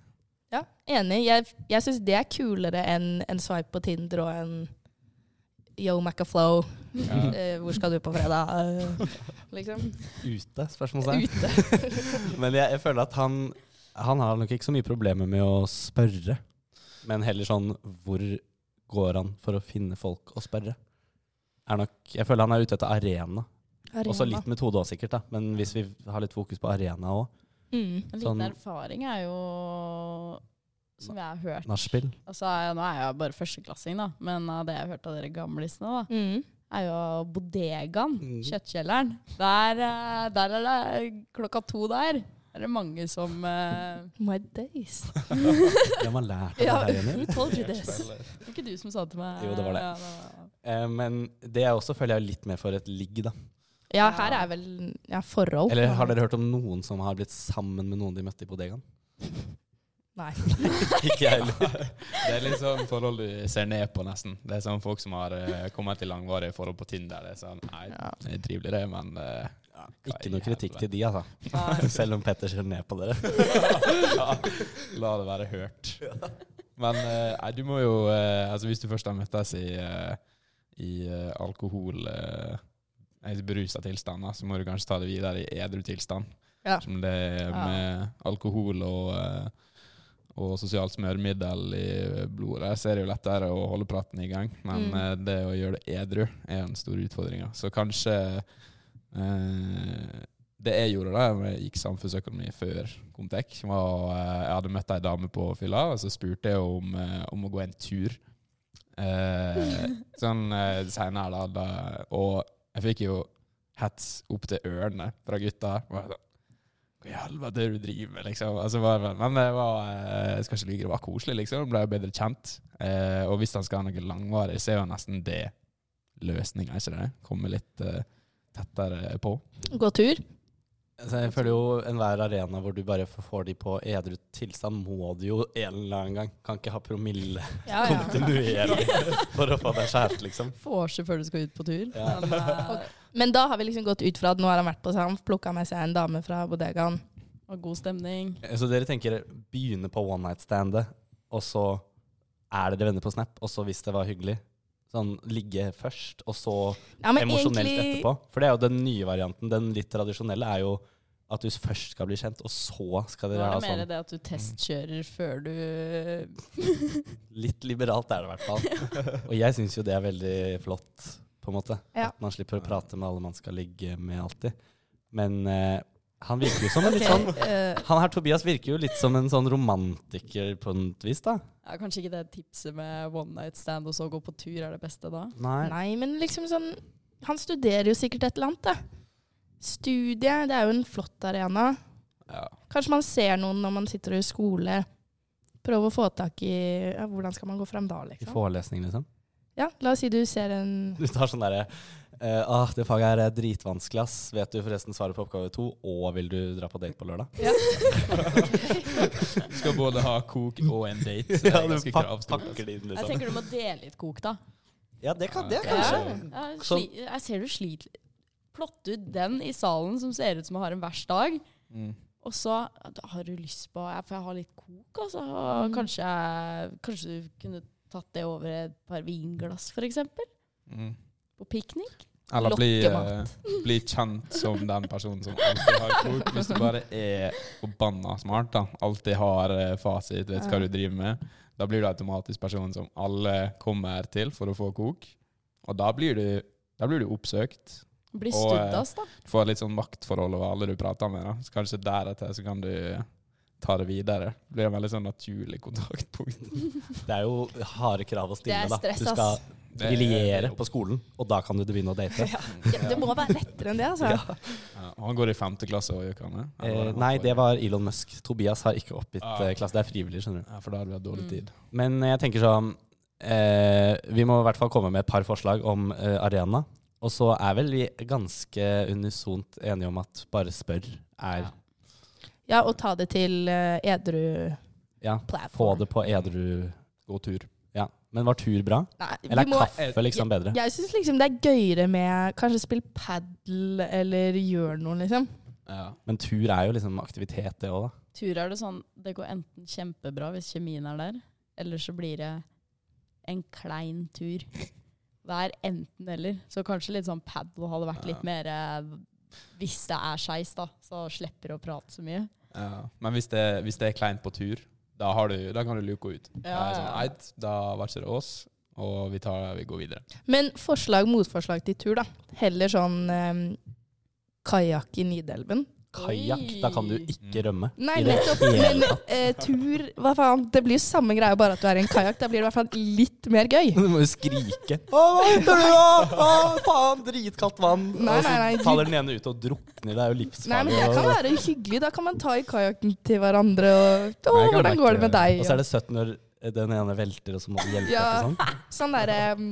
[SPEAKER 2] Ja, enig. Jeg, jeg syns det er kulere enn en swipe på Tinder og en Yo, Macaflow,
[SPEAKER 4] Ja.
[SPEAKER 2] eh, hvor skal du på fredag? Eh, liksom.
[SPEAKER 1] Ute? Spørsmålstegn. [LAUGHS] men jeg, jeg føler at han Han har nok ikke så mye problemer med å spørre, men heller sånn Hvor går han for å finne folk å spørre? Er nok, jeg føler han er ute etter arena. Også litt metode òg, sikkert, da. Men hvis vi har litt fokus på arena òg.
[SPEAKER 2] Mm.
[SPEAKER 3] En liten
[SPEAKER 1] Sånn-
[SPEAKER 3] erfaring er jo som jeg har hørt
[SPEAKER 1] Nachspiel.
[SPEAKER 3] Altså, jeg- nå er jeg bare førsteklassing, da, men av det jeg har hørt av dere gamlisene, da,
[SPEAKER 2] Mm.
[SPEAKER 3] er jo bodegaen,
[SPEAKER 1] Mm.
[SPEAKER 3] kjøttkjelleren. Der, eh, der er det klokka to der. Er det mange som eh,
[SPEAKER 2] My days.
[SPEAKER 1] Det har man lært av
[SPEAKER 3] [LAUGHS] Ja.
[SPEAKER 1] det her, Jenny.
[SPEAKER 2] Told you this.
[SPEAKER 3] Det var ikke du som sa det til meg.
[SPEAKER 1] Jo, det var det.
[SPEAKER 3] Ja, var-
[SPEAKER 1] Eh, men det er også, føler jeg, litt mer for et ligg, da.
[SPEAKER 2] Ja, her er vel ja, forhold.
[SPEAKER 1] Eller har dere hørt om noen som har blitt sammen med noen de møtte i bodegaen?
[SPEAKER 2] Nei.
[SPEAKER 1] Ikke jeg heller.
[SPEAKER 4] [LAUGHS] Det er litt sånn forhold du ser ned på, nesten. Det er sånn folk som har eh, kommet i langvarige forhold på Tinder. Det er sånn Nei,
[SPEAKER 2] Ja.
[SPEAKER 4] det er trivelig, det, men eh, [LAUGHS]
[SPEAKER 1] Ikke noe kritikk til de, altså.
[SPEAKER 3] Nei.
[SPEAKER 1] Selv om Petter ser ned på dere.
[SPEAKER 4] ja, La det være hørt. Men eh, nei, du må jo eh, Altså Hvis du først har møttes i, eh, i eh, alkohol eh, i berusa tilstand, da, så må du kanskje ta det videre i edru tilstand.
[SPEAKER 2] Ja.
[SPEAKER 4] Som det er
[SPEAKER 3] Ja.
[SPEAKER 4] med alkohol og, eh, og sosialt smøremiddel i blodet, så er det jo lettere å holde praten i gang. Men
[SPEAKER 2] Mm.
[SPEAKER 4] eh, det å gjøre det edru er en stor utfordring. da. Så kanskje eh, det jeg gjorde da jeg gikk samfunnsøkonomi før Comtec, var eh, jeg hadde møtt ei dame på fylla, og så spurte jeg om, eh, om å gå en tur. Eh, sånn eh, seinere, da, da. Og jeg fikk jo hets opp til ørene fra gutta. Og jeg sånn, Hva i helvete er det du driver med, liksom? Altså, bare, men det var eh, Jeg skal ikke lyve, det var koselig, liksom. Ble jo bedre kjent. Eh, og hvis han skal ha noe langvarig, så er jo nesten det løsninga, ikke det? Komme litt eh, tettere på.
[SPEAKER 2] Gå tur.
[SPEAKER 1] Så Altså, jeg føler jo enhver arena hvor du bare får de på edru tilstand, må du jo en eller annen gang. Kan ikke ha promille
[SPEAKER 2] Ja,
[SPEAKER 3] Ah,
[SPEAKER 2] ja.
[SPEAKER 3] [LAUGHS]
[SPEAKER 1] kontinuerlig for å få deg skjært, liksom.
[SPEAKER 3] Får seg før du skal ut på tur.
[SPEAKER 1] Ja.
[SPEAKER 3] Men, eh,
[SPEAKER 2] Men da har vi liksom gått ut fra at nå har han vært på seg, han plukka med seg en dame fra bodegaen.
[SPEAKER 3] og god stemning.
[SPEAKER 1] Så dere tenker begynne på one night standet, og så er dere venner på Snap, og så hvis det var hyggelig, sånn ligge først, og så
[SPEAKER 2] Ja, men
[SPEAKER 1] emosjonelt
[SPEAKER 2] egentlig-
[SPEAKER 1] etterpå. For det er jo den nye varianten. Den litt tradisjonelle er jo at du først skal bli kjent, og så skal
[SPEAKER 3] Nå
[SPEAKER 1] dere
[SPEAKER 3] er
[SPEAKER 1] ha
[SPEAKER 3] det mer
[SPEAKER 1] sånn
[SPEAKER 3] det at du testkjører før du
[SPEAKER 1] Litt liberalt er det i hvert fall. Og jeg syns jo det er veldig flott, på en måte.
[SPEAKER 2] Ja.
[SPEAKER 1] At man slipper å prate med alle man skal ligge med alltid. Men eh, han virker jo som en litt sånn
[SPEAKER 2] Ok, eh,
[SPEAKER 1] Han her Tobias virker jo litt som en sånn romantiker på et vis, da.
[SPEAKER 3] ja, Kanskje ikke det tipset med one night stand og så gå på tur er det beste da?
[SPEAKER 1] Nei.
[SPEAKER 2] nei, men liksom sånn Han studerer jo sikkert et eller annet, da. Studie, det er jo en flott arena.
[SPEAKER 4] Ja.
[SPEAKER 2] Kanskje man ser noen når man sitter i skole. Prøv å få tak i ja, Hvordan skal man gå fram da,
[SPEAKER 1] I
[SPEAKER 2] liksom?
[SPEAKER 1] forelesning, liksom.
[SPEAKER 2] Ja, la oss si du ser en
[SPEAKER 1] Du tar sånn derre eh, ah, 'Det faget her er dritvanskelig, ass. Vet du forresten svaret på oppgave to, og vil du dra på date på [LAUGHS] lørdag?'
[SPEAKER 3] [LAUGHS]
[SPEAKER 4] Du skal både ha kok og en date. [LAUGHS] Så det
[SPEAKER 1] Ja,
[SPEAKER 4] er
[SPEAKER 1] du
[SPEAKER 4] ganske
[SPEAKER 1] pak-
[SPEAKER 4] kravstort.
[SPEAKER 1] pakker det inn,
[SPEAKER 3] Jeg
[SPEAKER 1] liksom.
[SPEAKER 3] tenker du må dele litt kok, da.
[SPEAKER 1] Ja, det kan det,
[SPEAKER 4] Ja.
[SPEAKER 1] kanskje.
[SPEAKER 3] Ja, jeg
[SPEAKER 1] Sånn-
[SPEAKER 3] sli- Jeg ser du sliter litt. Plott ut den i salen som ser ut som jeg har en verst dag.
[SPEAKER 4] Mm.
[SPEAKER 3] Og så da har du lyst på ja, For jeg har litt kok, altså. Kanskje, jeg- kanskje du kunne tatt det over et par vinglass, f.eks.
[SPEAKER 4] Mm.
[SPEAKER 3] På piknik.
[SPEAKER 4] Eller bli, eh,
[SPEAKER 3] Lokkemat.
[SPEAKER 4] bli kjent som den personen som alltid har kort. Hvis du bare er forbanna smart, da. alltid har eh, fasit, vet hva du driver med, da blir du automatisk personen som alle kommer til for å få kok. Og da blir du, da blir du oppsøkt.
[SPEAKER 3] Bli
[SPEAKER 4] Og, eh,
[SPEAKER 3] studdas, da.
[SPEAKER 4] Du får litt sånn maktforhold over alle du prater med. Da. Så kanskje deretter så kan du ta det videre. Det blir en veldig sånn naturlig kontaktpunkt.
[SPEAKER 1] Det er jo harde krav å stille,
[SPEAKER 3] Det er
[SPEAKER 1] da.
[SPEAKER 3] stress,
[SPEAKER 1] Du skal
[SPEAKER 3] ass.
[SPEAKER 1] briljere på skolen, og da kan du begynne å date.
[SPEAKER 2] [LAUGHS] ja, Det må være lettere enn det, altså.
[SPEAKER 4] Ja, og han går i femte klasse og gjør hva han er?
[SPEAKER 1] Eh,
[SPEAKER 4] Eller-
[SPEAKER 1] nei, det var Elon Musk. Tobias har ikke oppgitt
[SPEAKER 4] Ah.
[SPEAKER 1] eh, klasse. Det er frivillig, skjønner du.
[SPEAKER 4] ja, For da har vi hatt
[SPEAKER 1] Mm.
[SPEAKER 4] dårlig tid.
[SPEAKER 1] Men jeg tenker sånn eh, Vi må i hvert fall komme med et par forslag om eh, arena. Og så er vel vi ganske unisont enige om at bare spør er
[SPEAKER 3] Ja.
[SPEAKER 2] Ja, og ta det til eh, edru
[SPEAKER 1] Ja, få
[SPEAKER 2] platform.
[SPEAKER 1] det på edru
[SPEAKER 4] God tur.
[SPEAKER 1] Ja. Men var tur bra?
[SPEAKER 2] Nei, vi
[SPEAKER 1] Eller er
[SPEAKER 2] må-
[SPEAKER 1] kaffe liksom bedre?
[SPEAKER 2] Jeg syns liksom det er gøyere med kanskje spille padel eller gjør noe, liksom.
[SPEAKER 4] Ja.
[SPEAKER 1] Men tur er jo liksom aktivitet, det òg, da.
[SPEAKER 3] Tur er det sånn Det går enten kjempebra hvis kjemien er der, eller så blir det en klein tur. Hver enten eller. Så kanskje litt sånn padel hadde vært litt mer eh, Hvis det er skeis, da, så slipper du å prate så mye.
[SPEAKER 4] Ja. Men hvis det, hvis det er kleint på tur, da, har du, da kan du luke ut. Da
[SPEAKER 3] Ja,
[SPEAKER 4] er det sånn,
[SPEAKER 3] ja.
[SPEAKER 4] Eit, da var ikke det oss, og vi, tar, vi går videre.
[SPEAKER 2] Men forslag motforslag til tur, da. Heller sånn um, kajakk i Nidelven.
[SPEAKER 1] Kajakk, da kan du ikke rømme.
[SPEAKER 2] Nei,
[SPEAKER 1] I det
[SPEAKER 2] nettopp.
[SPEAKER 1] hele [LAUGHS]
[SPEAKER 2] Men
[SPEAKER 1] tatt.
[SPEAKER 2] eh, tur, hva faen. Det blir jo samme greia, bare at du er i en kajakk. Da blir det i hvert fall litt mer gøy.
[SPEAKER 1] Du må jo skrike. Å, hva heter du, da? Å, faen, dritkaldt vann.
[SPEAKER 2] Nei,
[SPEAKER 1] og så
[SPEAKER 2] nei, nei, du-
[SPEAKER 1] faller den ene ut og drukner. Det er jo
[SPEAKER 2] Nei, men
[SPEAKER 1] livsfarlig.
[SPEAKER 2] det kan
[SPEAKER 1] og-
[SPEAKER 2] være hyggelig. Da kan man ta i kajakken til hverandre og Å,
[SPEAKER 4] Nei, jeg kan
[SPEAKER 2] hvordan går det med
[SPEAKER 4] backe-
[SPEAKER 2] deg?
[SPEAKER 1] Og så er det søtt når eh, den ene velter, og så må du hjelpe
[SPEAKER 2] Ja.
[SPEAKER 1] til sånn.
[SPEAKER 2] Sånn derre um,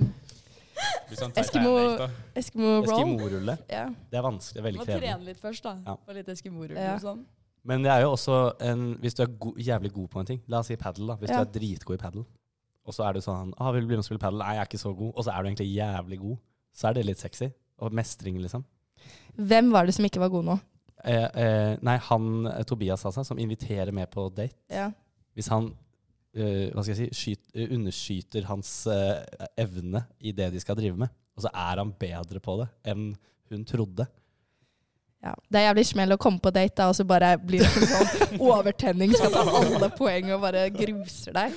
[SPEAKER 4] Hvis han
[SPEAKER 2] Eskimo-
[SPEAKER 4] Titanic, da.
[SPEAKER 2] Eskimo roll.
[SPEAKER 1] Eskimo-rulle.
[SPEAKER 2] Ja.
[SPEAKER 1] Det er vanskelig, veldig
[SPEAKER 3] Må
[SPEAKER 1] krevende.
[SPEAKER 3] trene litt først, da.
[SPEAKER 1] Ja.
[SPEAKER 3] På litt eskimorull
[SPEAKER 2] Ja.
[SPEAKER 3] og sånn.
[SPEAKER 1] Men det er jo også en Hvis du er go jævlig god på en ting, la oss si padel, da. Hvis du
[SPEAKER 2] Ja.
[SPEAKER 1] er dritgod i padel, og så er du sånn ah, 'Vil du bli med og spille padel?' Nei, jeg er ikke så god. Og så er du egentlig jævlig god. Så er det litt sexy. Og mestring, liksom.
[SPEAKER 2] Hvem var det som ikke var god nå?
[SPEAKER 1] Eh, eh, nei, han eh, Tobias, altså, som inviterer med på date.
[SPEAKER 2] Ja.
[SPEAKER 1] Hvis han eh, hva skal jeg si, skyt, eh, underskyter hans eh, evne i det de skal drive med, og Og så er han bedre på det enn hun trodde.
[SPEAKER 2] Ja. Det er jævlig smell å komme på date, da, og så bare blir det sånn overtenning. Skal ta alle poeng og bare gruser deg.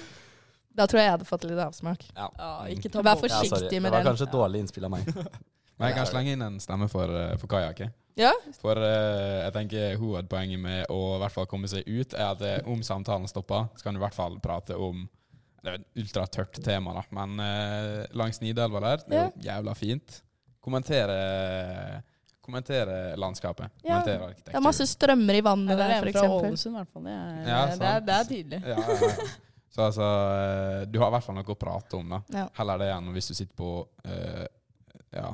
[SPEAKER 2] Da tror jeg jeg hadde fått litt avsmak.
[SPEAKER 1] Ja.
[SPEAKER 3] Ja,
[SPEAKER 1] Mm.
[SPEAKER 3] ikke ta
[SPEAKER 2] Vær
[SPEAKER 3] båt.
[SPEAKER 2] forsiktig.
[SPEAKER 1] sorry.
[SPEAKER 2] med
[SPEAKER 1] Det var
[SPEAKER 2] den.
[SPEAKER 1] kanskje et dårlig innspill av meg.
[SPEAKER 4] Men jeg kan slenge inn en stemme for, eh, for Kaja. ok?
[SPEAKER 2] Ja,
[SPEAKER 4] For eh, jeg tenker hovedpoenget med å i hvert fall komme seg ut, er at eh, om samtalen stopper, så kan du i hvert fall prate om Det er et ultratørt tema, da, men eh, langs Nidelva der, det er jo jævla fint. Kommentere Kommentere landskapet.
[SPEAKER 2] Ja,
[SPEAKER 4] Kommentere
[SPEAKER 2] Det er masse strømmer i vannet
[SPEAKER 3] Eller
[SPEAKER 2] der,
[SPEAKER 3] en
[SPEAKER 2] for
[SPEAKER 3] fra
[SPEAKER 2] eksempel.
[SPEAKER 3] Ålesund, i hvert fall. Det er,
[SPEAKER 4] Ja,
[SPEAKER 3] det, er,
[SPEAKER 4] sant.
[SPEAKER 3] det er tydelig.
[SPEAKER 4] Ja, ja, ja. Så altså, eh, du har i hvert fall noe å prate om, da.
[SPEAKER 2] Ja.
[SPEAKER 4] Heller det enn hvis du sitter på eh, Ja,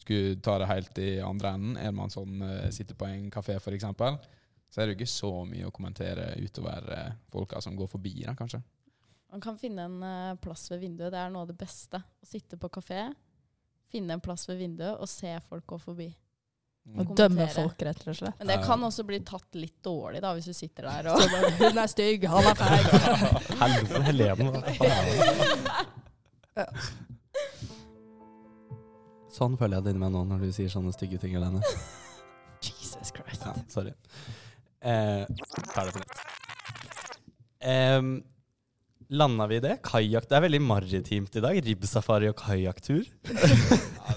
[SPEAKER 4] skulle ta det helt i andre enden. Er man sånn eh, sitter på en kafé, f.eks., så er det jo ikke så mye å kommentere utover eh, folka som går forbi, da, kanskje.
[SPEAKER 3] Man kan finne en eh, plass ved vinduet. Det er noe av det beste. Å sitte på kafé, finne en plass ved vinduet og se folk gå forbi.
[SPEAKER 4] Mm.
[SPEAKER 2] Og
[SPEAKER 3] kommentere.
[SPEAKER 2] dømme folk, rett og slett.
[SPEAKER 3] Men det kan også bli tatt litt dårlig, da, hvis du sitter der og [LAUGHS]
[SPEAKER 2] Så bare, Hun er stygg, han er feil.
[SPEAKER 1] Helvete, Helene. hva faen er det? Sånn føler jeg det inni meg nå når du sier sånne stygge ting, Helene.
[SPEAKER 2] Jesus Christ.
[SPEAKER 1] Ja, sorry. Eh, tar det på nytt. Em, landa vi i det? Kajakk. Det er veldig maritimt i dag. Ribbsafari og kajakktur.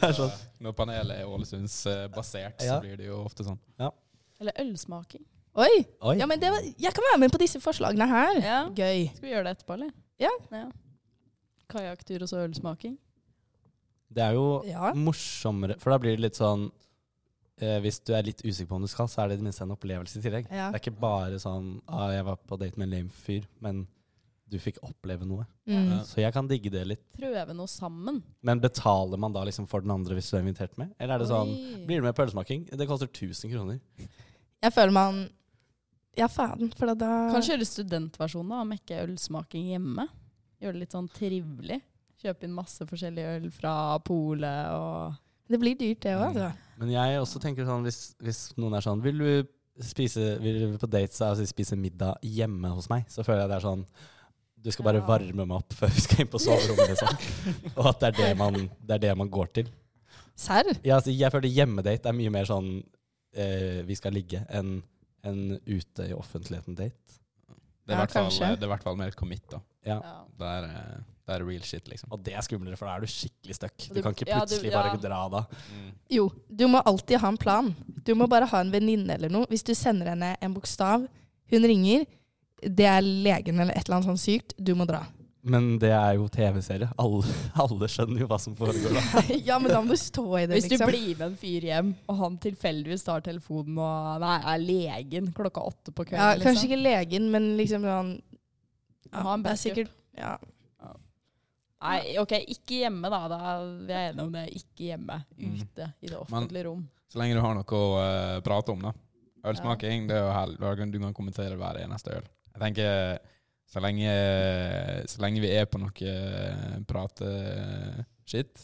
[SPEAKER 4] Altså, når panelet er Ålesundsbasert,
[SPEAKER 1] Ja.
[SPEAKER 4] så blir det jo ofte sånn.
[SPEAKER 3] Eller ølsmaking.
[SPEAKER 2] [LAUGHS] Oi!
[SPEAKER 1] Oi.
[SPEAKER 2] Ja, men det var, jeg kan være med på disse forslagene her.
[SPEAKER 3] [LAUGHS] Ja.
[SPEAKER 2] Gøy.
[SPEAKER 3] Skal vi gjøre det etterpå, eller?
[SPEAKER 2] Ja.
[SPEAKER 3] Kajakktur og så ølsmaking.
[SPEAKER 1] Det er jo
[SPEAKER 2] Ja.
[SPEAKER 1] morsommere, for da blir det litt sånn eh, Hvis du er litt usikker på om du skal, så er det i det minste en opplevelse i tillegg.
[SPEAKER 2] Ja.
[SPEAKER 1] Det er ikke bare sånn ah, 'jeg var på date med en lame fyr', men du fikk oppleve noe.
[SPEAKER 2] Mm.
[SPEAKER 1] Så jeg kan digge det litt.
[SPEAKER 3] Prøve noe sammen.
[SPEAKER 1] Men betaler man da liksom for den andre hvis du er invitert med? Eller er det sånn
[SPEAKER 3] Oi.
[SPEAKER 1] Blir du med på ølsmaking? Det koster 1000 kroner.
[SPEAKER 2] Jeg føler man Ja, faen, for da
[SPEAKER 3] Kan kjøre studentversjonen da, og mekke ølsmaking hjemme. Gjøre det litt sånn trivelig. Kjøpe inn masse forskjellig øl fra polet og
[SPEAKER 2] Det blir dyrt, det òg. Altså.
[SPEAKER 1] Men jeg også tenker sånn hvis, hvis noen er sånn Vil du spise vil du på date seg og si spise middag hjemme hos meg? Så føler jeg det er sånn Du skal bare
[SPEAKER 3] Ja.
[SPEAKER 1] varme meg opp før vi skal inn på soverommet, liksom.
[SPEAKER 3] [LAUGHS]
[SPEAKER 1] Og at det er det man, det er det man går til.
[SPEAKER 2] Serr?
[SPEAKER 1] Ja, altså, jeg føler hjemmedate er mye mer sånn eh, vi skal ligge, enn enn ute i offentligheten-date.
[SPEAKER 4] Det er i
[SPEAKER 2] Ja,
[SPEAKER 4] hvert fall- eh,
[SPEAKER 2] kanskje.
[SPEAKER 4] det er i hvert fall mer commit, da.
[SPEAKER 1] Ja.
[SPEAKER 3] ja.
[SPEAKER 4] Det er, eh, det er real shit, liksom.
[SPEAKER 1] Og det er skumlere, for da er du skikkelig stuck.
[SPEAKER 3] Og
[SPEAKER 1] Du
[SPEAKER 3] du-
[SPEAKER 1] kan ikke
[SPEAKER 3] ja, du-
[SPEAKER 1] plutselig
[SPEAKER 3] ja.
[SPEAKER 1] bare dra da.
[SPEAKER 4] Mm.
[SPEAKER 2] Jo, du må alltid ha en plan. Du må bare ha en venninne eller noe. Hvis du sender henne en bokstav, hun ringer, det er legen eller et eller annet sånn sykt, du må
[SPEAKER 3] [LAUGHS]
[SPEAKER 2] dra.
[SPEAKER 1] Men det er jo TV-serie. Alle, [LAUGHS] alle skjønner jo hva som foregår.
[SPEAKER 3] [LAUGHS]
[SPEAKER 1] da.
[SPEAKER 2] ja, men da må du stå i det,
[SPEAKER 3] Hvis du
[SPEAKER 2] liksom.
[SPEAKER 3] blir med en fyr hjem, og han tilfeldigvis tar telefonen og Nei, er legen klokka åtte på
[SPEAKER 2] ja,
[SPEAKER 3] kvelden. liksom.
[SPEAKER 2] Kanskje ikke legen, men liksom sånn ja,
[SPEAKER 3] Ha en
[SPEAKER 2] Det er
[SPEAKER 3] backup.
[SPEAKER 2] sikkert ja.
[SPEAKER 3] Nei, ok, ikke hjemme, da. Da er vi enige om det. Ikke hjemme.
[SPEAKER 4] Mm.
[SPEAKER 3] Ute i det offentlige rom.
[SPEAKER 4] Så lenge du har noe å eh, prate om, da. Ølsmaking, det er jo hell. Da kan- Du kan kommentere hver eneste øl. Jeg tenker, så lenge, så lenge vi er på noe eh, prate-shit,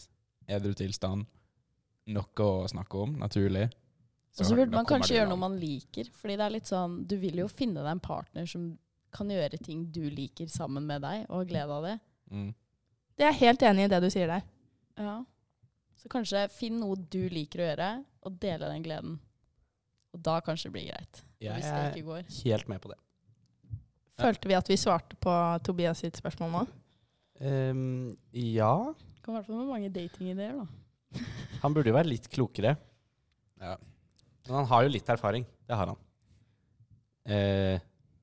[SPEAKER 4] edru tilstand, noe å snakke om, naturlig
[SPEAKER 3] Og så burde
[SPEAKER 4] da
[SPEAKER 3] man
[SPEAKER 4] kommer
[SPEAKER 3] kanskje
[SPEAKER 4] du
[SPEAKER 3] gjøre
[SPEAKER 4] langt.
[SPEAKER 3] noe man liker. Fordi det er litt sånn, du vil jo finne deg en partner som kan gjøre ting du liker sammen med deg, og ha glede av det.
[SPEAKER 4] Mm.
[SPEAKER 2] Det er jeg helt enig i det du sier der.
[SPEAKER 3] Ja. Så kanskje finn noe du liker å gjøre, og dele den gleden. Og da kanskje det blir greit. Og
[SPEAKER 1] Jeg
[SPEAKER 3] Hvis det ikke går.
[SPEAKER 1] er helt med på det.
[SPEAKER 2] Følte vi at vi svarte på Tobias sitt spørsmål nå?
[SPEAKER 1] Ehm, ja
[SPEAKER 3] Kan i hvert fall med mange datingideer, da.
[SPEAKER 1] Han burde jo være litt klokere.
[SPEAKER 4] Ja.
[SPEAKER 1] Men han har jo litt erfaring. Det har han. Eh,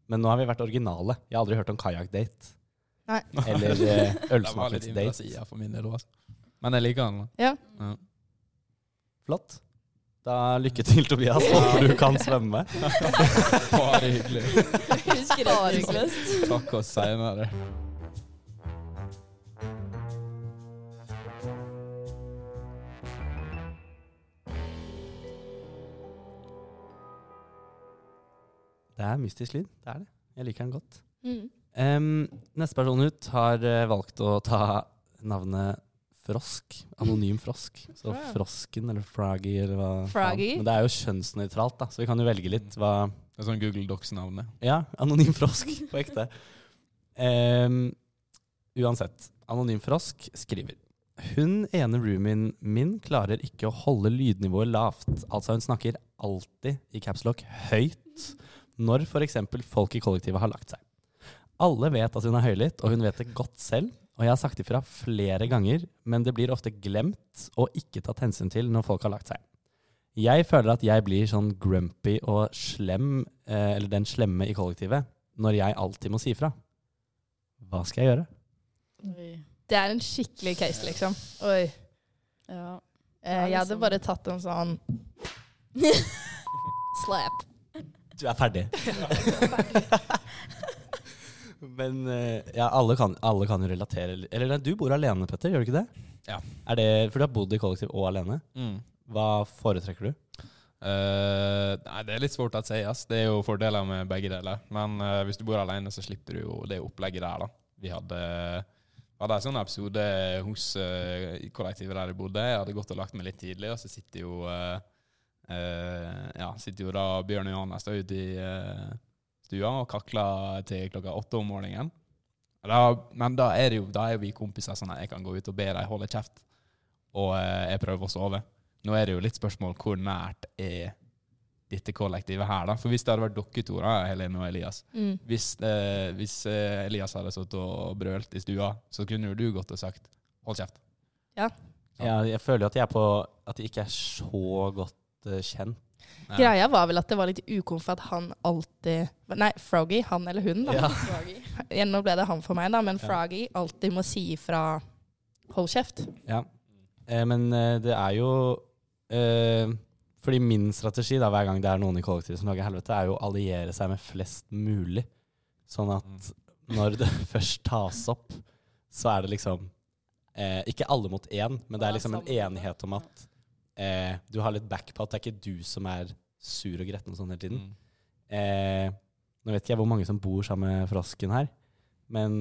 [SPEAKER 1] men nå har vi vært originale. Jeg har aldri hørt om [LAUGHS] kajakkdate.
[SPEAKER 2] Nei.
[SPEAKER 1] [LAUGHS] Eller eh,
[SPEAKER 4] [LAUGHS] Det var litt
[SPEAKER 1] ølsmakingsdate.
[SPEAKER 4] invasiv for min del også. Men jeg liker den. da.
[SPEAKER 1] Flott. Da lykke til, [LAUGHS] Tobias. Håper du kan svømme.
[SPEAKER 4] [LAUGHS] Bare hyggelig.
[SPEAKER 3] [LAUGHS] Husker det lyst.
[SPEAKER 4] Takk oss seinere.
[SPEAKER 1] Det er mystisk lyd. Det er det. Jeg liker den godt.
[SPEAKER 2] Mm.
[SPEAKER 1] Em, neste person ut har eh, valgt å ta navnet Frosk. Anonym frosk. Så
[SPEAKER 2] Ja.
[SPEAKER 1] frosken, eller froggy, eller hva faen.
[SPEAKER 2] Froggy.
[SPEAKER 1] Men det er jo kjønnsnøytralt, da, så vi kan jo velge litt hva
[SPEAKER 4] Det er sånn Google Docs-navnet.
[SPEAKER 1] Ja, anonym frosk på ekte. Em, uansett. Anonym frosk skriver Hun ene roomien min klarer ikke å holde lydnivået lavt. Altså hun snakker alltid i caps lock høyt når f.eks. folk i kollektivet har lagt seg. Alle vet at hun er høylytt, og hun vet det godt selv. Og jeg har sagt ifra flere ganger, men det blir ofte glemt og ikke tatt hensyn til når folk har lagt seg. Jeg føler at jeg blir sånn grumpy og slem, eh, eller den slemme i kollektivet, når jeg alltid må si ifra. Hva skal jeg gjøre?
[SPEAKER 3] Oi.
[SPEAKER 2] Det er en skikkelig case, liksom. Oi.
[SPEAKER 3] Ja. liksom.
[SPEAKER 2] Eh, jeg hadde bare tatt en sånn
[SPEAKER 3] [LAUGHS]
[SPEAKER 2] slap.
[SPEAKER 1] Du er ferdig. Men eh, ja, alle kan, alle kan jo relatere. Eller nei, du bor alene, Petter, gjør du ikke det?
[SPEAKER 4] Ja.
[SPEAKER 1] Er det? For du har bodd i kollektiv og alene.
[SPEAKER 4] Mm.
[SPEAKER 1] Hva foretrekker du?
[SPEAKER 4] Eh, nei, det er litt svårt å si. ass. Det er jo fordeler med begge deler. Men eh, hvis du bor alene, så slipper du jo det opplegget der, da. Vi hadde, vi hadde en sånn episode hos eh, i kollektivet der jeg bodde. Jeg hadde gått og lagt meg litt tidlig, og så sitter jo eh, eh, Ja, sitter jo da Bjørn og Johannes da ute i eh, stua og kakler til klokka åtte om morgenen. Og Da, men da er, det jo, da er jo vi kompiser sånn at jeg kan gå ut og be dem holde kjeft, og eh, jeg prøver å sove. Nå er det jo litt spørsmål hvor nært er dette kollektivet her, da. For hvis det hadde vært dere to, da, Helene og Elias
[SPEAKER 3] Mm.
[SPEAKER 4] Hvis, eh, hvis eh, Elias hadde sittet og brølt i stua, så kunne jo du gått og sagt 'hold kjeft'.
[SPEAKER 1] Ja, jeg føler jo at jeg er på At jeg ikke er så godt eh, kjent.
[SPEAKER 4] Ja.
[SPEAKER 2] Greia var vel at det var litt ukomfort at han alltid Nei, Froggy, han eller hun, da.
[SPEAKER 1] Ja.
[SPEAKER 2] Ja, Nå ble det han for meg, da, men
[SPEAKER 1] Ja.
[SPEAKER 2] Froggy alltid må si ifra hold kjeft.
[SPEAKER 1] Ja. Eh, men eh, det er jo eh, Fordi min strategi da, hver gang det er noen i kollektivet som lager helvete, er jo å alliere seg med flest mulig. Sånn
[SPEAKER 4] Mm,
[SPEAKER 1] at når det [LAUGHS] først tas opp, så er det liksom eh, Ikke alle mot én, men det er liksom en enighet om at eh, du har litt back på at det er ikke du som er sur og gretten og sånn hele tiden.
[SPEAKER 4] Mm.
[SPEAKER 1] Eh, nå vet ikke jeg hvor mange som bor sammen med frosken her, men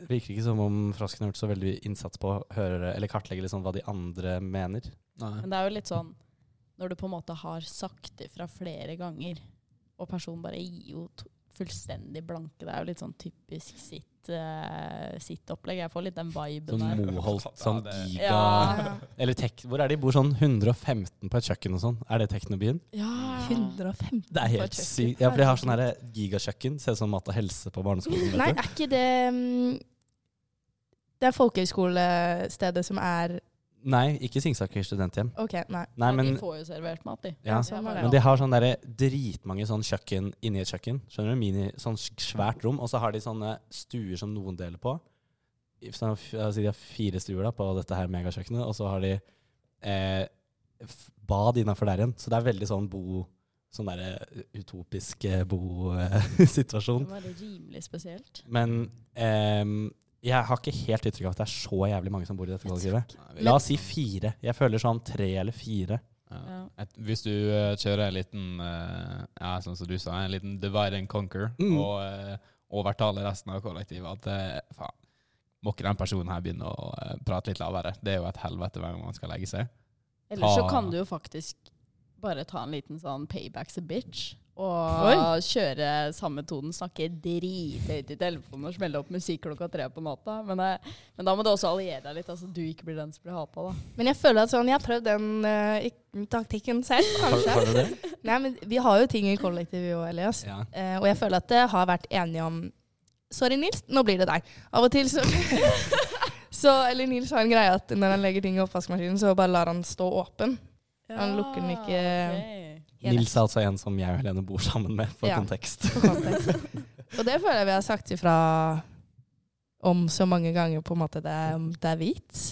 [SPEAKER 1] det virker ikke som om frosken har gjort så veldig innsats på å høre, eller kartlegge liksom hva de andre mener.
[SPEAKER 4] Nei.
[SPEAKER 3] Men det er jo litt sånn når du på en måte har sagt ifra flere ganger, og personen bare gir jo to fullstendig blanke Det er jo litt sånn typisk sitt, eh, sitt opplegg. Jeg får litt den viben
[SPEAKER 1] Sånn
[SPEAKER 3] der.
[SPEAKER 1] Moholt, sånn
[SPEAKER 4] Ja, det-
[SPEAKER 1] giga
[SPEAKER 3] Ja.
[SPEAKER 1] Eller tek, hvor er de bor? Sånn 115 på et kjøkken og sånn? Er det Teknobyen?
[SPEAKER 3] Ja.
[SPEAKER 2] 115
[SPEAKER 1] Det er
[SPEAKER 2] på et
[SPEAKER 1] helt
[SPEAKER 2] kjøkken.
[SPEAKER 1] sykt. Ja, for de har sånn her gigakjøkken. Ser ut som Mat og helse på barneskolen.
[SPEAKER 2] Nei,
[SPEAKER 1] Vet du.
[SPEAKER 2] er ikke det mm, Det er folkehøyskolestedet som er
[SPEAKER 1] Nei, ikke Singsaker studenthjem.
[SPEAKER 2] OK, nei.
[SPEAKER 1] Nei, men,
[SPEAKER 3] de får jo servert mat, de.
[SPEAKER 1] ja.
[SPEAKER 2] sånn var det.
[SPEAKER 1] men de har sånn derre dritmange sånn kjøkken inni et kjøkken. Skjønner du? Mini, sånn s- svært rom. Og så har de sånne stuer som noen deler på. I- Sånn, f- altså, de har fire stuer da, på dette her megakjøkkenet, og så har de eh, f- bad innafor der igjen. Så det er veldig sånn bo Sånn derre utopisk eh,
[SPEAKER 3] Det
[SPEAKER 1] [LAUGHS] bo-situasjon.
[SPEAKER 3] var rimelig spesielt.
[SPEAKER 1] Men ehm, jeg har ikke helt inntrykk av at det er så jævlig mange som bor i dette kollektivet.
[SPEAKER 4] Nei,
[SPEAKER 1] La oss si fire. Jeg føler sånn tre eller fire.
[SPEAKER 4] Ja.
[SPEAKER 3] Ja.
[SPEAKER 4] Et, hvis du eh, kjører en liten eh, ja, sånn som du sa, en liten divide and conquer,
[SPEAKER 1] Mm.
[SPEAKER 4] og eh, overtaler resten av kollektivet at eh, faen, må ikke den personen her begynne å eh, prate litt lavere? Det er jo et helvete hver gang man skal legge seg. [LAUGHS]
[SPEAKER 3] Eller så
[SPEAKER 4] Ta-
[SPEAKER 3] kan du jo faktisk bare ta en liten sånn paybacks a bitch. Og
[SPEAKER 2] Oi.
[SPEAKER 3] kjøre samme tonen, snakke drithøyt i telefonen og smelle opp musikk klokka tre på natta. Men, eh, men da må du også alliere deg litt, altså du ikke blir den som blir hata, da.
[SPEAKER 2] Men jeg føler at sånn, jeg har prøvd den eh, ik- taktikken selv,
[SPEAKER 1] Har,
[SPEAKER 2] kanskje.
[SPEAKER 1] har du det?
[SPEAKER 2] Nei, men vi har jo ting i kollektivet, vi og Elias.
[SPEAKER 1] Ja.
[SPEAKER 2] Eh, og jeg føler at det har vært enige om Sorry, Nils, nå blir det deg. Av og til så [LAUGHS] Så, eller Nils har en greie at når han legger ting i oppvaskmaskinen, så bare lar han stå åpen. Han lukker den ikke- eh.
[SPEAKER 3] ok.
[SPEAKER 2] Helt
[SPEAKER 1] Nils er altså en som jeg og Helene bor sammen med, for
[SPEAKER 2] Ja.
[SPEAKER 1] kontekst.
[SPEAKER 2] på kontekst. Og det føler jeg vi har sagt ifra om så mange ganger på en måte det er, det er hvit.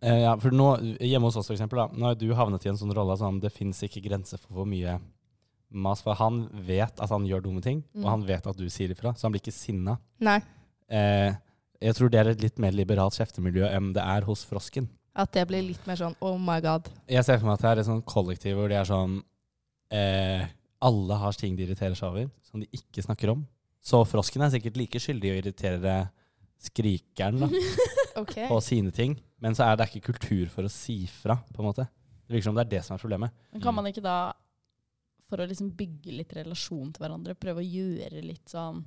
[SPEAKER 1] Eh, ja, for nå, hjemme hos oss for eksempel, da, nå har du havnet i en sånn rolle som det finnes ikke grenser for hvor mye mas, for han vet at han gjør dumme ting,
[SPEAKER 2] Mm.
[SPEAKER 1] og han vet at du sier ifra, så han blir ikke sinna.
[SPEAKER 2] Nei,
[SPEAKER 1] Eh, jeg tror det er et litt mer liberalt kjeftemiljø enn det er hos frosken.
[SPEAKER 2] at det blir litt mer sånn oh my god.
[SPEAKER 1] Jeg ser for meg at det er et sånt kollektiv hvor det er sånn eh, Alle har ting de irriterer seg over, som de ikke snakker om. Så frosken er sikkert like skyldig i å irritere skrikeren da,
[SPEAKER 2] Ok.
[SPEAKER 1] på sine ting, men så er det ikke kultur for å si fra, på en måte. Det virker som det er det som er problemet.
[SPEAKER 3] Men kan man ikke da, for å liksom bygge litt relasjon til hverandre, prøve å gjøre litt sånn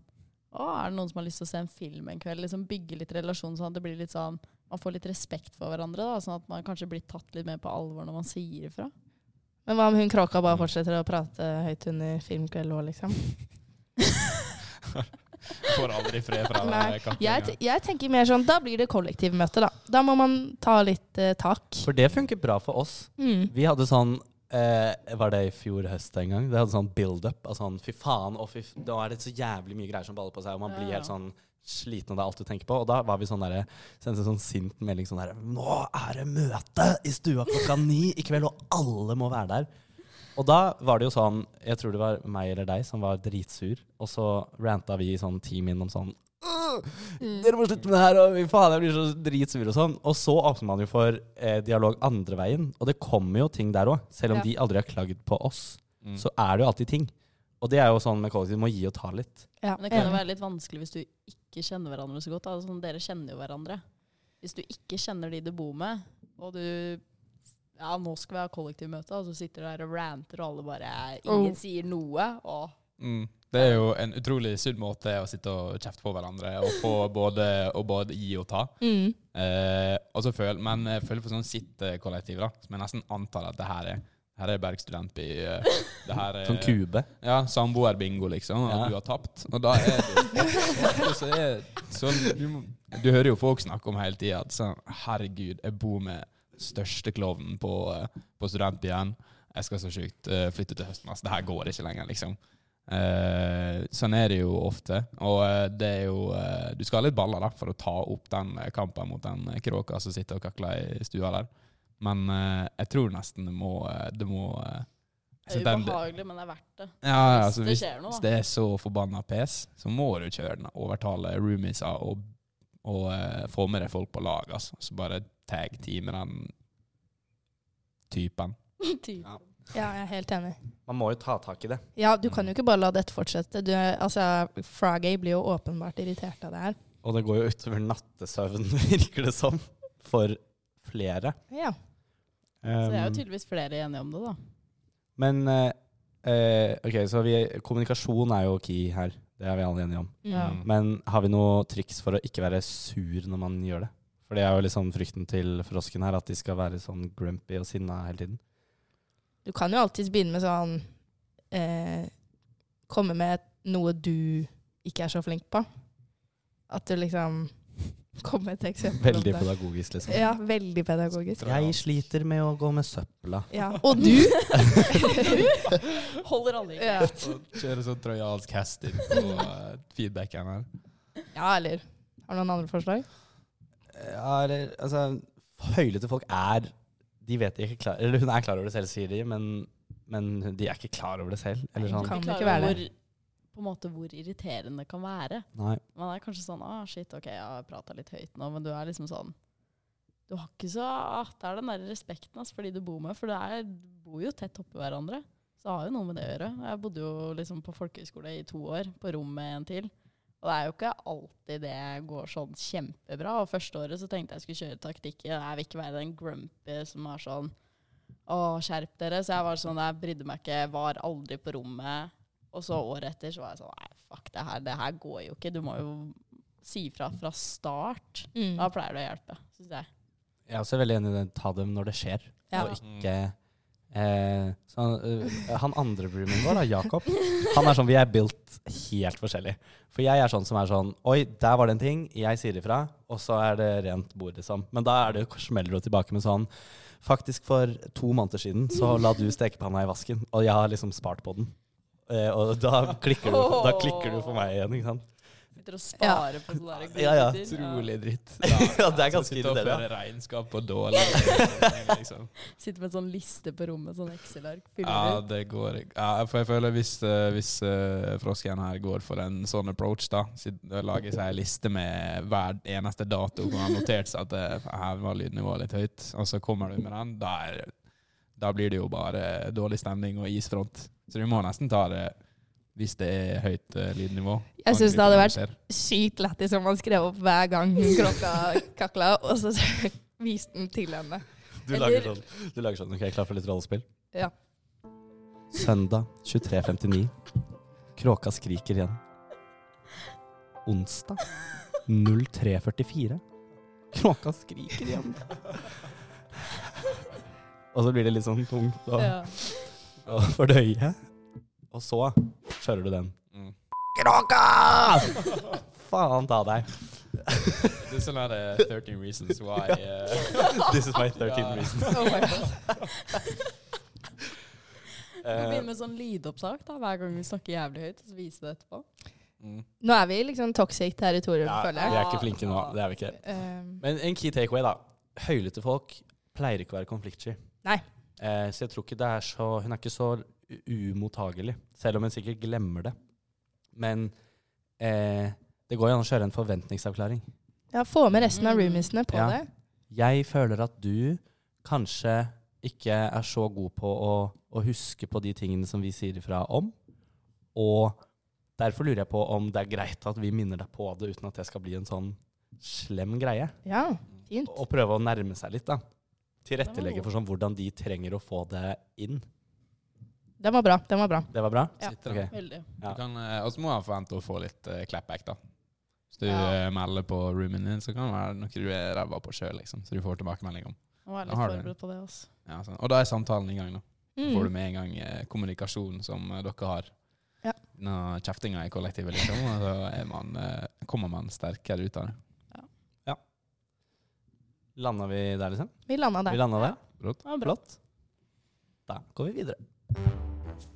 [SPEAKER 3] Å, er det noen som har lyst til å se en film en kveld? Liksom bygge litt relasjon sånn at det blir litt sånn man får litt respekt for hverandre. da, Sånn at man kanskje blir tatt litt mer på alvor når man sier
[SPEAKER 2] [LAUGHS]
[SPEAKER 3] ifra.
[SPEAKER 2] Men hva om hun kråka bare fortsetter å prate høyt under filmkveld òg, liksom?
[SPEAKER 4] Får aldri fred fra
[SPEAKER 2] Nei, Jeg,
[SPEAKER 4] kattingen.
[SPEAKER 2] te- jeg tenker mer sånn, da blir det kollektivmøte, da. Da må man ta litt eh, tak.
[SPEAKER 1] For det funker bra for oss.
[SPEAKER 2] Mm.
[SPEAKER 1] Vi hadde sånn eh, Var det i fjor høst en gang? Det hadde sånn build-up av sånn fy faen, å fy f da er det så jævlig mye greier som baller på seg, og man blir
[SPEAKER 3] Ja.
[SPEAKER 1] helt sånn sliten, og det er alt du tenker på. Og da var vi sånn derre Sendte en sånn sint melding sånn derre Nå er det møte i stua klokka ni i kveld, og alle må være der. Og da var det jo sånn Jeg tror det var meg eller deg som var dritsur, og så ranta vi i sånn ti min om sånn «Åh, Dere må slutte med det her, og fy faen, jeg blir så dritsur og sånn. Og så åpner man jo for eh, dialog andre veien, og det kommer jo ting der òg. Selv om
[SPEAKER 2] Ja.
[SPEAKER 1] de aldri har klagd på oss,
[SPEAKER 4] Mm.
[SPEAKER 1] så er det jo alltid ting. Og det er jo sånn med kollektiv, du må gi og ta litt.
[SPEAKER 2] Ja,
[SPEAKER 3] Men det kan jo
[SPEAKER 2] enig.
[SPEAKER 3] være litt vanskelig hvis du ikke kjenner hverandre så godt. da. Altså, sånn, dere kjenner jo hverandre. Hvis du ikke kjenner de du bor med, og du Ja, nå skal vi ha kollektivmøte, og så sitter du der og ranter, og alle bare Ingen
[SPEAKER 2] Oh.
[SPEAKER 3] sier noe. Og
[SPEAKER 4] Mm. Det er jo en utrolig sunn måte å sitte og kjefte på hverandre og få både, og både gi og ta.
[SPEAKER 2] Mm.
[SPEAKER 4] Eh, og så føl, men jeg føler for sånn sitt-kollektiv, da, som jeg nesten antar at det her er. Her er Berg studentby. eh, Det her er
[SPEAKER 1] Sånn kube.
[SPEAKER 4] Ja, samboerbingo, liksom. At
[SPEAKER 1] Ja.
[SPEAKER 4] du har tapt. Og da er
[SPEAKER 3] [LAUGHS]
[SPEAKER 4] det og så er sånn, du, må- du hører jo folk snakke om hele tida at sånn, herregud, jeg bor med største klovnen på, eh, på studentbyen. Jeg skal så sjukt eh, flytte til høsten. Altså, det her går ikke lenger, liksom. Eh, sånn er det jo ofte. Og eh, det er jo eh, Du skal ha litt baller da for å ta opp den eh, kampen mot den eh, kråka som sitter og kakler i stua der. Men eh, jeg tror nesten det må, eh, det må eh,
[SPEAKER 3] det
[SPEAKER 4] så
[SPEAKER 3] er
[SPEAKER 4] den-
[SPEAKER 3] ubehagelig, men det er verdt det.
[SPEAKER 4] ja, ja,
[SPEAKER 3] Hvis
[SPEAKER 4] altså,
[SPEAKER 3] det
[SPEAKER 4] hvis,
[SPEAKER 3] skjer noe, da.
[SPEAKER 4] hvis det er så forbanna pes, så må du kjøre den. Overtale roomiesa og, og eh, få med deg folk på lag. Altså. Så bare tag team med den typen.
[SPEAKER 3] [LAUGHS] Typ.
[SPEAKER 2] ja, jeg er helt enig.
[SPEAKER 1] Man må jo ta tak i det.
[SPEAKER 2] Ja, du kan jo ikke bare la dette fortsette. Du, altså, Fragay blir jo åpenbart irritert av det her.
[SPEAKER 1] Og det går jo utover nattesøvnen, [LAUGHS] virker det som, for flere.
[SPEAKER 2] Ja.
[SPEAKER 3] Så det er
[SPEAKER 1] Um,
[SPEAKER 3] jo tydeligvis flere enige om det, da.
[SPEAKER 1] Men eh, eh, ok, så vi, kommunikasjon er jo key her. Det er vi alle enige om.
[SPEAKER 2] Ja.
[SPEAKER 4] Mm.
[SPEAKER 1] Men har vi noe triks for å ikke være sur når man gjør det? For det er jo liksom frykten til frosken her, at de skal være sånn grumpy og sinna hele tiden.
[SPEAKER 2] Du kan jo alltids begynne med sånn eh, Komme med noe du ikke er så flink på. At du liksom [LAUGHS] Kom med et eksempel. om
[SPEAKER 1] Veldig
[SPEAKER 2] det.
[SPEAKER 1] pedagogisk, liksom.
[SPEAKER 2] Ja, veldig
[SPEAKER 1] [LAUGHS]
[SPEAKER 2] pedagogisk.
[SPEAKER 1] Jeg sliter med å gå med søpla.
[SPEAKER 2] Ja. Og du! [LAUGHS]
[SPEAKER 3] Holder alle i.
[SPEAKER 2] ja.
[SPEAKER 4] Kjøre sånn trojansk hest inn på eh, feedbacken her.
[SPEAKER 2] ja, eller Har du noen andre forslag?
[SPEAKER 1] Ja, eller altså Høylete folk er De vet ikke klar Eller hun er klar over det selv, sier de, men, men de er ikke klar over det selv. Eller
[SPEAKER 3] Jeg er
[SPEAKER 1] sånn.
[SPEAKER 2] Kan
[SPEAKER 3] egentlig
[SPEAKER 2] det ikke
[SPEAKER 3] klar over
[SPEAKER 2] være
[SPEAKER 3] hvor, på en måte hvor irriterende det kan være.
[SPEAKER 1] Nei.
[SPEAKER 3] Man er kanskje sånn ah, shit, ok, jeg har prata litt høyt nå, men du er liksom sånn Du har ikke så ah, Det er den der respekten ass, for de du bor med, for det er, du bor jo tett oppi hverandre. Så det har jo noe med det å gjøre. Jeg bodde jo liksom på folkehøyskole i to år, på rom med en til. Og det er jo ikke alltid det går sånn kjempebra. Og første året så tenkte jeg skulle kjøre taktikken. Jeg vil ikke være den grumpy som er sånn Å, skjerp dere. Så jeg var sånn, jeg brydde meg ikke, var aldri på rommet. Og så året etter så var jeg sånn Nei, fuck det her, det her går jo ikke. Du må jo si fra fra start.
[SPEAKER 2] Mm,
[SPEAKER 3] Da pleier det å hjelpe, syns jeg.
[SPEAKER 1] Jeg er også veldig enig i det. Ta dem når det skjer,
[SPEAKER 2] Ja.
[SPEAKER 1] og ikke eh, så, eh, Han andre roomien vår, da,
[SPEAKER 4] [LAUGHS]
[SPEAKER 1] Jakob, han er sånn Vi er built helt forskjellig. For jeg er sånn som er sånn Oi, der var det en ting. Jeg sier ifra, og så er det rent bord, liksom. Men da er det smeller det tilbake med sånn Faktisk, for to måneder siden så la du stekepanna i vasken, og jeg har liksom spart på den. Eh, og da klikker, du, da klikker du for meg igjen, ikke sant?
[SPEAKER 3] Sitter og
[SPEAKER 2] sparer
[SPEAKER 3] sparer på sånne
[SPEAKER 1] gode Ja, ja.
[SPEAKER 4] Utrolig dritt.
[SPEAKER 1] [LAUGHS] Ja, det er ganske
[SPEAKER 4] Sitte og
[SPEAKER 1] irriterende.
[SPEAKER 4] føre regnskap på dårlig [LAUGHS] liksom.
[SPEAKER 3] Sitter med en sånn liste på rommet, sånn Excel-ark.
[SPEAKER 4] Ja,
[SPEAKER 3] Fyller ut.
[SPEAKER 4] det går ikke. ja, For jeg føler hvis, eh, hvis eh, frosken her går for en sånn approach, da sit- Lager seg en liste med hver eneste dato hvor han har notert seg at eh, her var lydnivået litt høyt, og så kommer du med den, da, er, da blir det jo bare dårlig stemning og isfront. Så du må nesten ta det hvis det er høyt eh, lydnivå.
[SPEAKER 2] Jeg synes det hadde vært-
[SPEAKER 4] Angriper
[SPEAKER 2] Sykt lættis om han skrev opp hver [LAUGHS] gang klokka kakla, og så [LAUGHS] viste den til henne.
[SPEAKER 1] Du lager sånn. Du lager sånn. Ok, klar for litt rollespill?
[SPEAKER 2] Ja.
[SPEAKER 1] Søndag 23.59. Kråka skriker igjen. onsdag 03.44. Kråka skriker igjen. Og så blir det litt sånn tungt å
[SPEAKER 3] Ja.
[SPEAKER 1] å fordøye. Og så kjører du den.
[SPEAKER 4] Mm.
[SPEAKER 1] Kråka! Faen ta deg.
[SPEAKER 4] Det er sånn her eh, 13 reasons [LAUGHS] why eh,
[SPEAKER 1] This is my 13
[SPEAKER 4] Ja.
[SPEAKER 1] reason.
[SPEAKER 3] [LAUGHS] Oh my God. Vi
[SPEAKER 1] Eh,
[SPEAKER 3] begynner med sånn lydopptak da, hver gang vi snakker jævlig høyt. Så viser vi det etterpå.
[SPEAKER 4] mm.
[SPEAKER 2] Nå er vi i liksom toxic territorium,
[SPEAKER 1] ja, vi
[SPEAKER 2] føler jeg.
[SPEAKER 1] er ikke flinke nå. Det er vi ikke.
[SPEAKER 2] Ehm,
[SPEAKER 1] Men en key takeaway, da. Høylytte folk pleier ikke å være konfliktsky.
[SPEAKER 2] Nei.
[SPEAKER 1] Eh, så jeg tror ikke det er så Hun er ikke så u- umottagelig, selv om hun sikkert glemmer det. Men eh, det går jo an å kjøre en forventningsavklaring.
[SPEAKER 2] ja, få med resten av
[SPEAKER 3] Mm.
[SPEAKER 2] roomiesene på
[SPEAKER 1] Ja.
[SPEAKER 2] det.
[SPEAKER 1] Jeg føler at du kanskje ikke er så god på å, å huske på de tingene som vi sier ifra om. Og derfor lurer jeg på om det er greit at vi minner deg på det, uten at det skal bli en sånn slem greie.
[SPEAKER 2] Ja, fint.
[SPEAKER 1] Og prøve å nærme seg litt, da.
[SPEAKER 3] Den var
[SPEAKER 1] Tilrettelegge
[SPEAKER 3] god.
[SPEAKER 1] for sånn hvordan de trenger å få det inn.
[SPEAKER 2] Den var bra. Den var bra.
[SPEAKER 1] Det var bra?
[SPEAKER 2] Ja.
[SPEAKER 4] Sitter
[SPEAKER 1] Ok.
[SPEAKER 4] da.
[SPEAKER 3] Veldig.
[SPEAKER 1] Ja.
[SPEAKER 4] Du kan, eh, og så må han forvente å få litt eh, clapback, da. Hvis du
[SPEAKER 3] Ja.
[SPEAKER 4] eh, melder på roomen din, så kan det være noe du er ræva på sjøl, liksom. Så du får tilbakemelding om.
[SPEAKER 3] Nå er jeg
[SPEAKER 4] Da
[SPEAKER 3] litt
[SPEAKER 4] har du
[SPEAKER 3] forberedt på det altså. også.
[SPEAKER 4] Ja, sånn. Og da er samtalen i gang, da.
[SPEAKER 2] Mm.
[SPEAKER 4] Får du med en gang eh, kommunikasjon som eh, dere har.
[SPEAKER 2] Ja.
[SPEAKER 4] Når kjeftinga i kollektivet, liksom. Og så er man, eh, kommer man sterkere ut av det.
[SPEAKER 1] Landa vi der, liksom?
[SPEAKER 2] Vi landa der.
[SPEAKER 1] Vi landa der?
[SPEAKER 3] Det var bra.
[SPEAKER 1] Flott. Da går vi videre.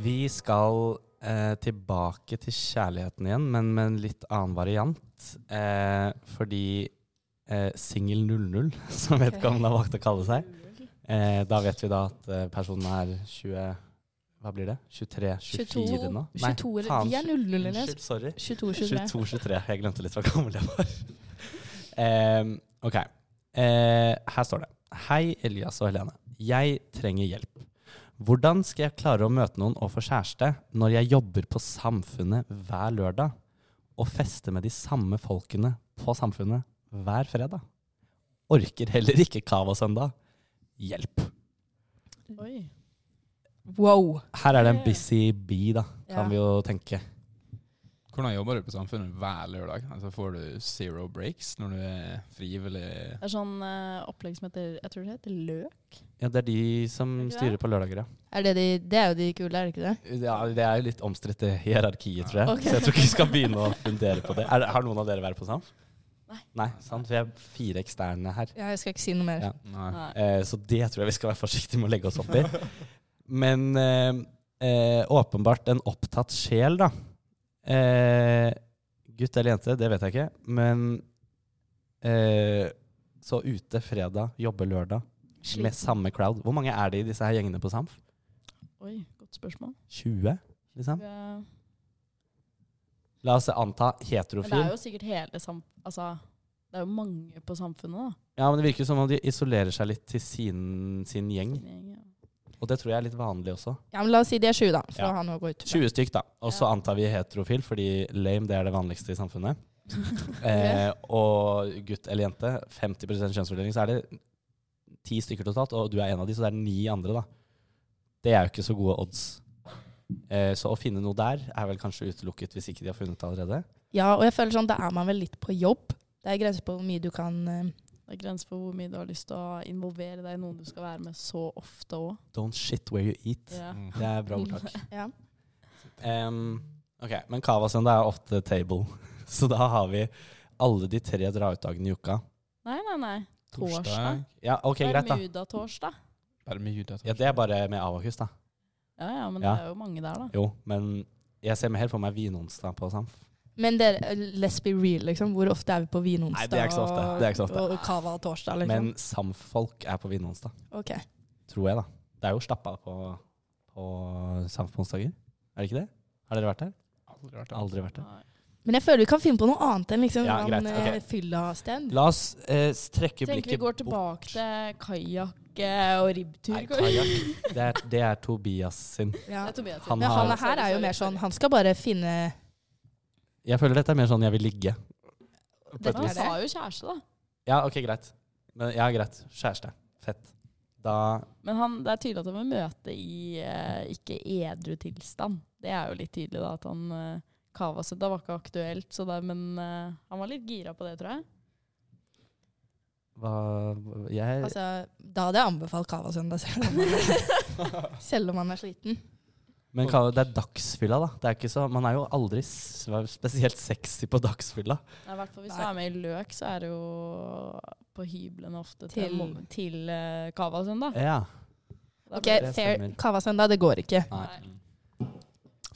[SPEAKER 1] Vi skal eh, tilbake til kjærligheten igjen, men med en litt annen variant. Eh, fordi eh, singel 00, [LAUGHS] som vedkommende har valgt å kalle seg eh, Da vet vi da at eh, personen er 20 Hva blir det? 23? 24
[SPEAKER 2] 22,
[SPEAKER 1] nå?
[SPEAKER 2] 22 eller-
[SPEAKER 1] faen,
[SPEAKER 2] vi er 00 eller
[SPEAKER 1] Unnskyld, sorry.
[SPEAKER 2] 22, 23.
[SPEAKER 1] 22-23. Jeg glemte litt hvor gammel jeg var. [LAUGHS] Em, ok. Eh, her står det. Hei, Elias og Helene. Jeg trenger hjelp. Hvordan skal jeg klare å møte noen og få kjæreste når jeg jobber på Samfunnet hver lørdag, og fester med de samme folkene på Samfunnet hver fredag? Orker heller ikke Cava søndag. Hjelp.
[SPEAKER 3] Oi.
[SPEAKER 2] Wow.
[SPEAKER 1] Her er det en busy bee, da,
[SPEAKER 3] Ja.
[SPEAKER 1] kan vi jo tenke.
[SPEAKER 4] Hvordan jobber du på Samfunnet hver lørdag? Altså Får du zero breaks når du er frivillig?
[SPEAKER 3] Det er sånn eh, opplegg som heter Jeg tror det heter løk.
[SPEAKER 1] Ja, det er de som
[SPEAKER 3] Er det
[SPEAKER 1] styrer
[SPEAKER 3] det?
[SPEAKER 1] på lørdager, ja.
[SPEAKER 2] Er det, de, det er jo de kule, er det ikke det?
[SPEAKER 1] Ja, det er jo litt omstridt i hierarkiet, tror jeg.
[SPEAKER 3] Ok.
[SPEAKER 1] Så jeg tror ikke vi skal begynne å fundere på det. Er, har noen av dere vært på SAMF?
[SPEAKER 3] Nei.
[SPEAKER 1] Nei, sant? Vi er fire eksterne her.
[SPEAKER 2] Ja, jeg skal ikke si noe mer.
[SPEAKER 1] Ja.
[SPEAKER 4] Nei.
[SPEAKER 3] Nei.
[SPEAKER 1] Eh, så det tror jeg vi skal være forsiktige med å legge oss opp i. Men eh, eh, åpenbart en opptatt sjel, da. Eh, gutt eller jente, det vet jeg ikke. Men eh, så ute fredag, jobbe lørdag, med
[SPEAKER 3] Sliten.
[SPEAKER 1] samme crowd. Hvor mange er det i disse her gjengene på SAMF?
[SPEAKER 3] Oi, godt spørsmål.
[SPEAKER 1] 20, liksom?
[SPEAKER 3] Eh,
[SPEAKER 1] La oss anta
[SPEAKER 3] Men det er
[SPEAKER 1] heterofil.
[SPEAKER 3] jo sikkert hele sam... Altså, det er jo mange på samfunnet,
[SPEAKER 1] Ja, men det virker som om de isolerer seg litt til sin, sin gjeng.
[SPEAKER 3] da.
[SPEAKER 1] Og det tror jeg er litt vanlig også.
[SPEAKER 2] Ja, men La oss si de er 20, da. For
[SPEAKER 1] Ja.
[SPEAKER 2] å ha noe å gå ut fra.
[SPEAKER 1] 20 stykk, da. Og så
[SPEAKER 3] Ja.
[SPEAKER 1] antar vi heterofil, fordi lame det er det vanligste i
[SPEAKER 3] [LAUGHS]
[SPEAKER 1] samfunnet. Eh, og gutt eller jente, 50 kjønnsfordeling, så er det ti stykker totalt. Og du er en av de, så det er ni andre, da. Det er jo ikke så gode odds. Eh, så å finne noe der er vel kanskje utelukket, hvis ikke de har funnet det allerede.
[SPEAKER 2] Ja, og jeg føler sånn, da er man vel litt på jobb. Det er grenser på hvor mye du kan eh,
[SPEAKER 3] Det er grenser for hvor mye du har lyst til å involvere deg i noen du skal være med så ofte òg.
[SPEAKER 1] Don't shit where you eat.
[SPEAKER 3] Ja.
[SPEAKER 4] Mm.
[SPEAKER 1] Det er bra ordtak.
[SPEAKER 2] Ja.
[SPEAKER 1] Em, ok, men Kava-søndag er ofte table. [LAUGHS] Så da har vi alle de tre dra-ut-dagene i uka.
[SPEAKER 3] Nei, nei, nei. Torsdag.
[SPEAKER 4] Torsdag.
[SPEAKER 1] Ja, ok, greit da.
[SPEAKER 3] Bermudatorsdag.
[SPEAKER 4] Bermuda.
[SPEAKER 1] Ja, Det er bare med avakus, da.
[SPEAKER 3] Ja, ja, men
[SPEAKER 1] Ja.
[SPEAKER 3] det er jo mange der, da.
[SPEAKER 1] Jo, men jeg ser helt for meg vinonsdag på Samf.
[SPEAKER 2] Men dere, let's be real, liksom. Hvor ofte er vi på
[SPEAKER 1] Nei,
[SPEAKER 2] vinonsdag
[SPEAKER 1] det er ikke så ofte. Det er ikke så ofte.
[SPEAKER 2] og cava og torsdag, liksom?
[SPEAKER 1] Men Samf-folk er på vinonsdag,
[SPEAKER 2] ok.
[SPEAKER 1] tror jeg, da. Det er jo stappa på, på Samf på onsdager, er det ikke det? Har dere vært der?
[SPEAKER 4] Aldri vært der.
[SPEAKER 1] Aldri vært der.
[SPEAKER 3] Nei.
[SPEAKER 2] Men jeg føler vi kan finne på noe annet enn liksom,
[SPEAKER 1] Ja,
[SPEAKER 2] hvordan,
[SPEAKER 1] greit, ok.
[SPEAKER 2] eh, fylla-sted.
[SPEAKER 1] La oss eh, trekke
[SPEAKER 3] Tenker vi
[SPEAKER 1] blikket
[SPEAKER 3] går tilbake til kajakk eh, og ribbtur.
[SPEAKER 1] Nei, kajakk. Det er, det er Tobias sin.
[SPEAKER 2] Ja.
[SPEAKER 3] Det er Tobias
[SPEAKER 1] Han
[SPEAKER 3] sitt.
[SPEAKER 2] Men han
[SPEAKER 1] har-
[SPEAKER 2] her er jo mer sånn Han skal bare finne
[SPEAKER 1] Jeg føler dette er mer sånn jeg vil ligge.
[SPEAKER 3] Dette
[SPEAKER 2] vis.
[SPEAKER 3] sa jo kjæreste, da.
[SPEAKER 1] Ja, ok, greit. Men, ja, greit. Kjæreste. Fett. Da
[SPEAKER 3] Men han, det er tydelig at han vil møte i eh, ikke edru tilstand. Det er jo litt tydelig da, at han eh, Kavasøta var ikke aktuelt, så da- men eh, han var litt gira på det, tror jeg.
[SPEAKER 1] hva Jeg
[SPEAKER 2] Altså, da hadde jeg anbefalt Cava søndag, selv om man
[SPEAKER 1] [LAUGHS]
[SPEAKER 2] er, selv om man er sliten.
[SPEAKER 1] Men Kaveh, det er dagsfylla, da. Det er ikke så, man er jo aldri s- spesielt sexy på dagsfylla.
[SPEAKER 3] Nei, I hvert fall hvis
[SPEAKER 2] Nei.
[SPEAKER 3] du er med i løk, så er det jo på hyblene ofte
[SPEAKER 2] Til-
[SPEAKER 3] til, mo- til eh, Kavasønda.
[SPEAKER 1] Ja.
[SPEAKER 3] Da
[SPEAKER 2] Ok,
[SPEAKER 3] blir det-
[SPEAKER 1] Det
[SPEAKER 2] Eh, fair.
[SPEAKER 1] stemmer.
[SPEAKER 2] Cava søndag, det går ikke.
[SPEAKER 3] Nei.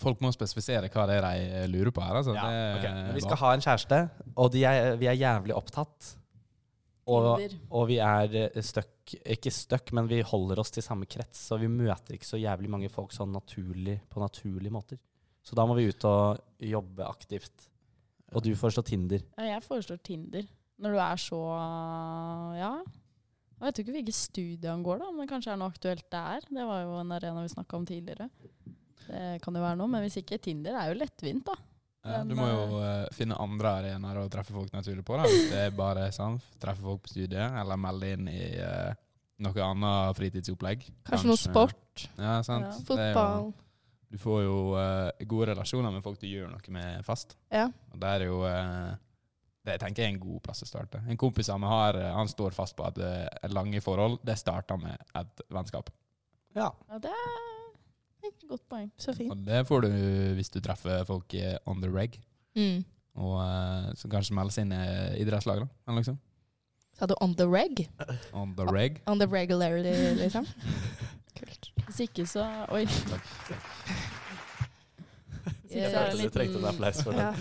[SPEAKER 4] Folk må spesifisere hva det er de lurer på her. Altså.
[SPEAKER 1] Ja,
[SPEAKER 4] Det-
[SPEAKER 1] ok. Men vi skal ha en kjæreste, og de er, vi er jævlig opptatt. Og,
[SPEAKER 3] Tinder.
[SPEAKER 1] og vi er eh, stuck Ikke stuck, men vi holder oss til samme krets, så vi møter ikke så jævlig mange folk sånn naturlig, på naturlige måter. Så da må vi ut og jobbe aktivt. Og du foreslår Tinder.
[SPEAKER 3] Ja, jeg foreslår Tinder. Når du er så Ja. Jeg vet jo ikke hvilket studie han går, da, om det kanskje er noe aktuelt der. Det var jo en arena vi snakka om tidligere. Det kan jo være noe, men hvis ikke Tinder er jo lettvint, da.
[SPEAKER 4] Ja, du må jo eh, finne andre arenaer å treffe folk naturlig på. Da. Hvis det er bare sånn, treffe folk på studiet, eller melde inn i eh, noe annet fritidsopplegg.
[SPEAKER 2] Kanskje noe sport,
[SPEAKER 4] Ja, sant.
[SPEAKER 3] Ja.
[SPEAKER 4] Det er jo-
[SPEAKER 2] fotball.
[SPEAKER 4] Du får jo eh, gode relasjoner med folk du gjør noe med fast.
[SPEAKER 2] Ja.
[SPEAKER 4] Og det er jo eh, Det tenker jeg er en god plass å starte. En kompis av meg har, eh, han står fast på at eh, lange forhold, det starter med et vennskap.
[SPEAKER 1] Ja.
[SPEAKER 3] Ja, det er et godt poeng.
[SPEAKER 2] Så fint.
[SPEAKER 4] Og det får du hvis du treffer folk eh, on the reg,
[SPEAKER 2] Mm.
[SPEAKER 4] og eh, som kanskje melder seg inn i idrettslag, da. Eller noe sånt.
[SPEAKER 2] Sa du on the reg?
[SPEAKER 4] On the reg.
[SPEAKER 2] On the regularity,
[SPEAKER 4] [LAUGHS]
[SPEAKER 2] liksom? Kult.
[SPEAKER 3] Hvis ikke så Oi.
[SPEAKER 4] Takk.
[SPEAKER 3] Hvis ikke så er det en liten,
[SPEAKER 1] applaus for
[SPEAKER 2] Ja.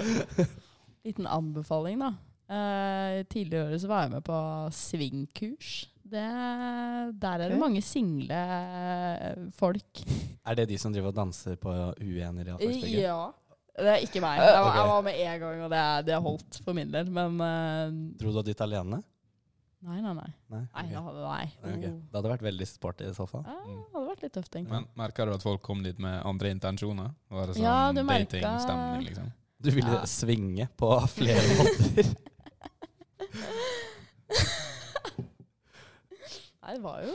[SPEAKER 3] liten anbefaling, da. Eh, tidligere i året så var jeg med på svingkurs. Det, der er det
[SPEAKER 2] Ok.
[SPEAKER 3] mange single eh, folk.
[SPEAKER 1] Er det de som driver og danser på uener i Atlanterhavet?
[SPEAKER 3] Ja. Det er ikke
[SPEAKER 1] [LAUGHS]
[SPEAKER 3] meg. Jeg var,
[SPEAKER 1] Ah, Ok.
[SPEAKER 3] jeg var med én gang, og det, det holdt for min del. Men eh,
[SPEAKER 1] Dro du dit alene?
[SPEAKER 3] nei, nei, nei.
[SPEAKER 1] Nei.
[SPEAKER 3] nei,
[SPEAKER 1] ok.
[SPEAKER 3] da hadde- nei.
[SPEAKER 1] Nei, ok. Mm. Det hadde vært veldig sporty i så fall.
[SPEAKER 3] Ja, det hadde vært litt tøft, egentlig.
[SPEAKER 4] Men merker du at folk kom dit med andre intensjoner? Var det sånn
[SPEAKER 3] Ja, du merker-
[SPEAKER 4] datingstemning, liksom?
[SPEAKER 1] Du ville
[SPEAKER 3] Ja.
[SPEAKER 1] svinge på
[SPEAKER 3] [LAUGHS]
[SPEAKER 1] flere måter.
[SPEAKER 3] [LAUGHS] Nei, det var jo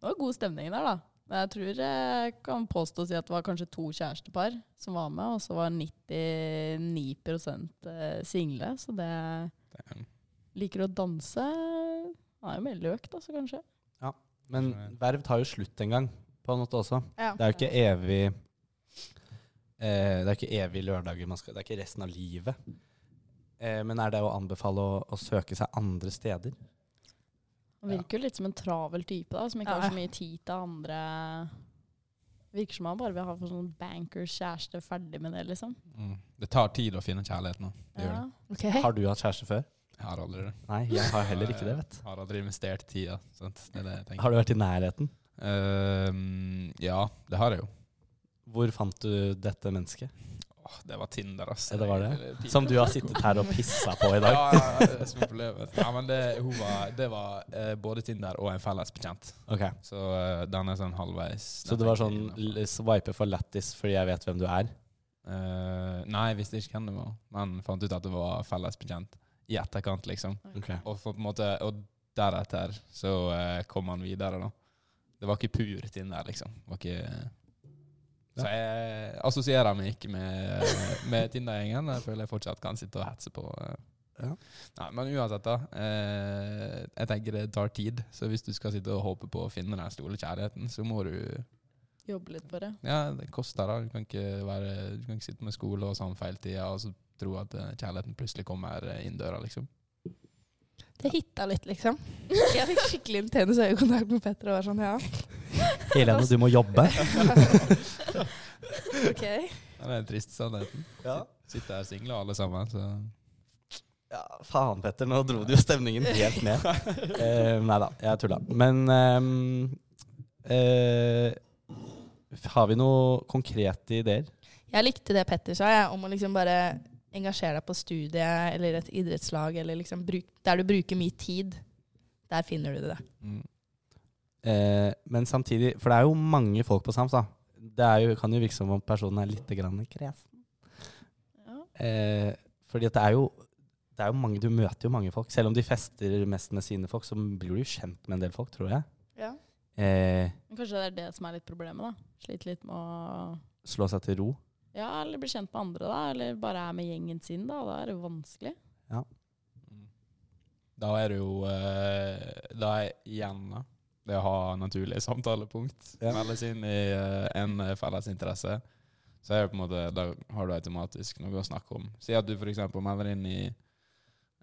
[SPEAKER 3] Det var god stemning der, da. Men jeg tror jeg kan påstå å si at det var kanskje to kjærestepar som var med, og så var 99 eh, single. Så det
[SPEAKER 4] Det-
[SPEAKER 3] Liker å danse. Han er jo mer løk, da, så kanskje.
[SPEAKER 1] Men verv tar jo slutt en gang, på en måte også.
[SPEAKER 2] Ja.
[SPEAKER 1] Det er jo ikke evig eh, Det er ikke evig lørdager man skal Det er ikke resten av livet. Eh, men er det å anbefale å, å søke seg andre steder?
[SPEAKER 3] Han virker jo litt som en travel type, da, som ikke
[SPEAKER 2] Ja.
[SPEAKER 3] har så mye tid til andre Virker som han bare vil ha for sånn bankers kjæreste, ferdig med det, liksom.
[SPEAKER 4] Mm. Det tar tid å finne kjærlighet nå. Det gjør
[SPEAKER 3] Ja.
[SPEAKER 4] det.
[SPEAKER 2] Ok.
[SPEAKER 1] Har du hatt kjæreste før?
[SPEAKER 4] Jeg har aldri det.
[SPEAKER 1] Nei, jeg har heller ikke det, vet du.
[SPEAKER 4] Har aldri investert tida. Sant? Det er det jeg tenker.
[SPEAKER 1] Har du vært i nærheten?
[SPEAKER 4] Ehm, ja, det har jeg jo.
[SPEAKER 1] Hvor fant du dette mennesket?
[SPEAKER 4] Åh, det var Tinder, ass.
[SPEAKER 1] Ja, det var det.
[SPEAKER 4] er pinlig.
[SPEAKER 1] Som du har sittet her og pissa på i
[SPEAKER 4] ja,
[SPEAKER 1] dag?
[SPEAKER 4] ja, ja, det er som er problemet. Ja, men det, hun var, det var eh, både Tinder og en felles bekjent.
[SPEAKER 1] Ok.
[SPEAKER 4] Så eh, den er sånn halvveis.
[SPEAKER 1] Så det var sånn l- swipe for lættis fordi jeg vet hvem du er?
[SPEAKER 4] Eh, nei, visste ikke hvem det var, men fant ut at det var felles bekjent i etterkant, liksom.
[SPEAKER 1] Ok.
[SPEAKER 4] Og, for, på en måte, og deretter så eh, kom han videre, da. Det var ikke pur Tinder, liksom. Det var ikke Så jeg assosierer meg ikke med, med Tinder-gjengen. Jeg føler jeg fortsatt kan sitte og hetse på. eh.
[SPEAKER 1] Ja.
[SPEAKER 4] Nei, men uansett, da. Eh, jeg tenker det tar tid. Så hvis du skal sitte og håpe på å finne den store kjærligheten, så må du
[SPEAKER 3] Jobbe litt for det.
[SPEAKER 4] ja, det koster da. Du kan ikke, være, du kan ikke sitte med skole og sånn feil tida, og så tro at eh, kjærligheten plutselig kommer eh, inn døra, liksom.
[SPEAKER 2] Det hitta litt, liksom. [LAUGHS] Jeg fikk skikkelig intens øyekontakt med Petter og var sånn, ja.
[SPEAKER 1] Helene, du må jobbe.
[SPEAKER 2] Ok.
[SPEAKER 4] Ja, det er den triste sannheten.
[SPEAKER 1] Ja.
[SPEAKER 4] Sitter her single alle sammen, så
[SPEAKER 1] Ja, faen, Petter. Nå dro du jo stemningen helt ned. [LAUGHS] Eh, nei da, jeg tulla. Men ehm, eh, har vi noe konkrete ideer?
[SPEAKER 2] Jeg likte det Petter sa, jeg, om å liksom bare engasjere deg på studiet eller et idrettslag, eller liksom bruk, der du bruker mye tid. Der finner du det.
[SPEAKER 4] mm.
[SPEAKER 1] Eh, men samtidig, for det er jo mange folk på Sams, da. Det er jo, kan jo virke som om personen er litt grann kresen.
[SPEAKER 3] Ja.
[SPEAKER 1] Eh, fordi at det er jo det er jo mange, Du møter jo mange folk. Selv om de fester mest med sine folk, så blir du jo kjent med en del folk, tror jeg.
[SPEAKER 2] Ja.
[SPEAKER 1] Eh,
[SPEAKER 3] Men kanskje det er det som er litt problemet, da. Sliter litt med å
[SPEAKER 1] slå seg til ro.
[SPEAKER 3] Ja, eller bli kjent med andre, da. Eller bare er med gjengen sin, da. Da er det vanskelig.
[SPEAKER 4] Da er det jo eh, Da er igjen da, det å ha naturlige samtalepunkt.
[SPEAKER 1] Ja.
[SPEAKER 4] Meldes inn i eh, en felles interesse. Så er det på en måte, da har du automatisk noe å snakke om. Si at du f.eks. melder inn i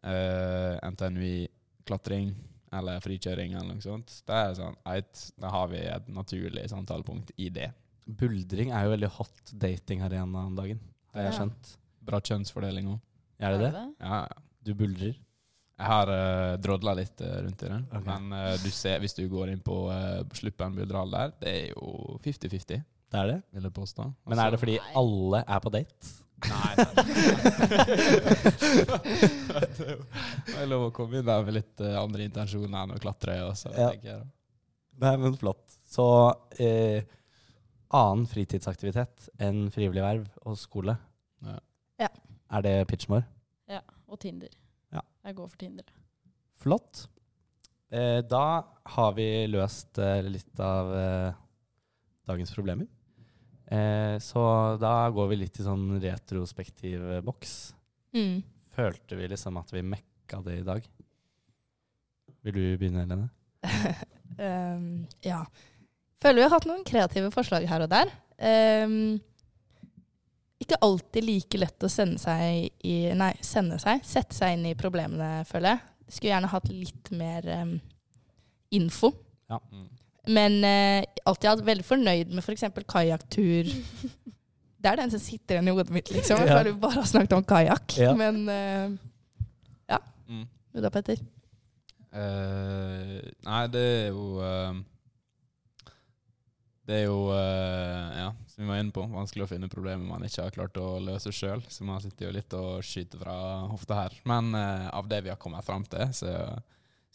[SPEAKER 4] eh, NTNUI klatring eller frikjøring eller noe sånt. Det er sånn, eit, Da har vi et naturlig samtalepunkt i det.
[SPEAKER 1] Buldring er jo veldig hot datingarena om dagen, har jeg
[SPEAKER 3] Ja.
[SPEAKER 1] skjønt.
[SPEAKER 4] Bra kjønnsfordeling òg.
[SPEAKER 1] Er det det?
[SPEAKER 3] det?
[SPEAKER 4] Ja, ja.
[SPEAKER 1] Du buldrer?
[SPEAKER 4] Jeg har uh, drodla litt eh, rundt i det.
[SPEAKER 1] Ok.
[SPEAKER 4] Men eh, du ser, hvis du går inn på uh, Sluppen Budral der, det er jo 50-50,
[SPEAKER 1] Det er det.
[SPEAKER 4] vil jeg påstå. Altså-
[SPEAKER 1] Men er det fordi
[SPEAKER 3] Nei.
[SPEAKER 1] alle er på date?
[SPEAKER 4] Nei. [LAUGHS] nei. det er lov å komme inn der med litt eh, andre intensjoner enn å klatre. Også,
[SPEAKER 1] Ja.
[SPEAKER 4] tenker jeg. da.
[SPEAKER 1] Nei, men flott. Så eh, annen fritidsaktivitet enn frivillig verv og skole,
[SPEAKER 4] Ja.
[SPEAKER 2] Ja.
[SPEAKER 1] er det pitchen vår?
[SPEAKER 3] Ja. Og Tinder.
[SPEAKER 1] Ja.
[SPEAKER 3] Jeg går for Tinder.
[SPEAKER 1] Flott. Eh, da har vi løst eh, litt av eh, dagens problemer. Eh, så da går vi litt i sånn retrospektiv eh, boks.
[SPEAKER 2] Mm.
[SPEAKER 1] Følte vi liksom at vi mekka det i dag? Vil du begynne, Helene?
[SPEAKER 2] [LAUGHS] um, ja. Føler vi har hatt noen kreative forslag her og der. Um, ikke alltid like lett å sende seg i Nei, sende seg. Sette seg inn i problemene, føler jeg. Skulle gjerne hatt litt mer um, info.
[SPEAKER 4] Mm.
[SPEAKER 2] Men eh, alltid hatt veldig fornøyd med f.eks. kajakktur. Det er den som sitter igjen i hodet mitt, liksom. Jeg
[SPEAKER 1] Ja.
[SPEAKER 2] føler vi bare har snakket om kajakk.
[SPEAKER 1] Ja.
[SPEAKER 2] Men uh,
[SPEAKER 4] Mm.
[SPEAKER 2] da, Petter.
[SPEAKER 4] Eh, nei, det er jo eh, Det er jo, eh, ja, som vi var inne på, vanskelig å finne problemer man ikke har klart å løse sjøl. Så man sitter jo litt og skyter fra hofta her. Men eh, av det vi har kommet fram til, så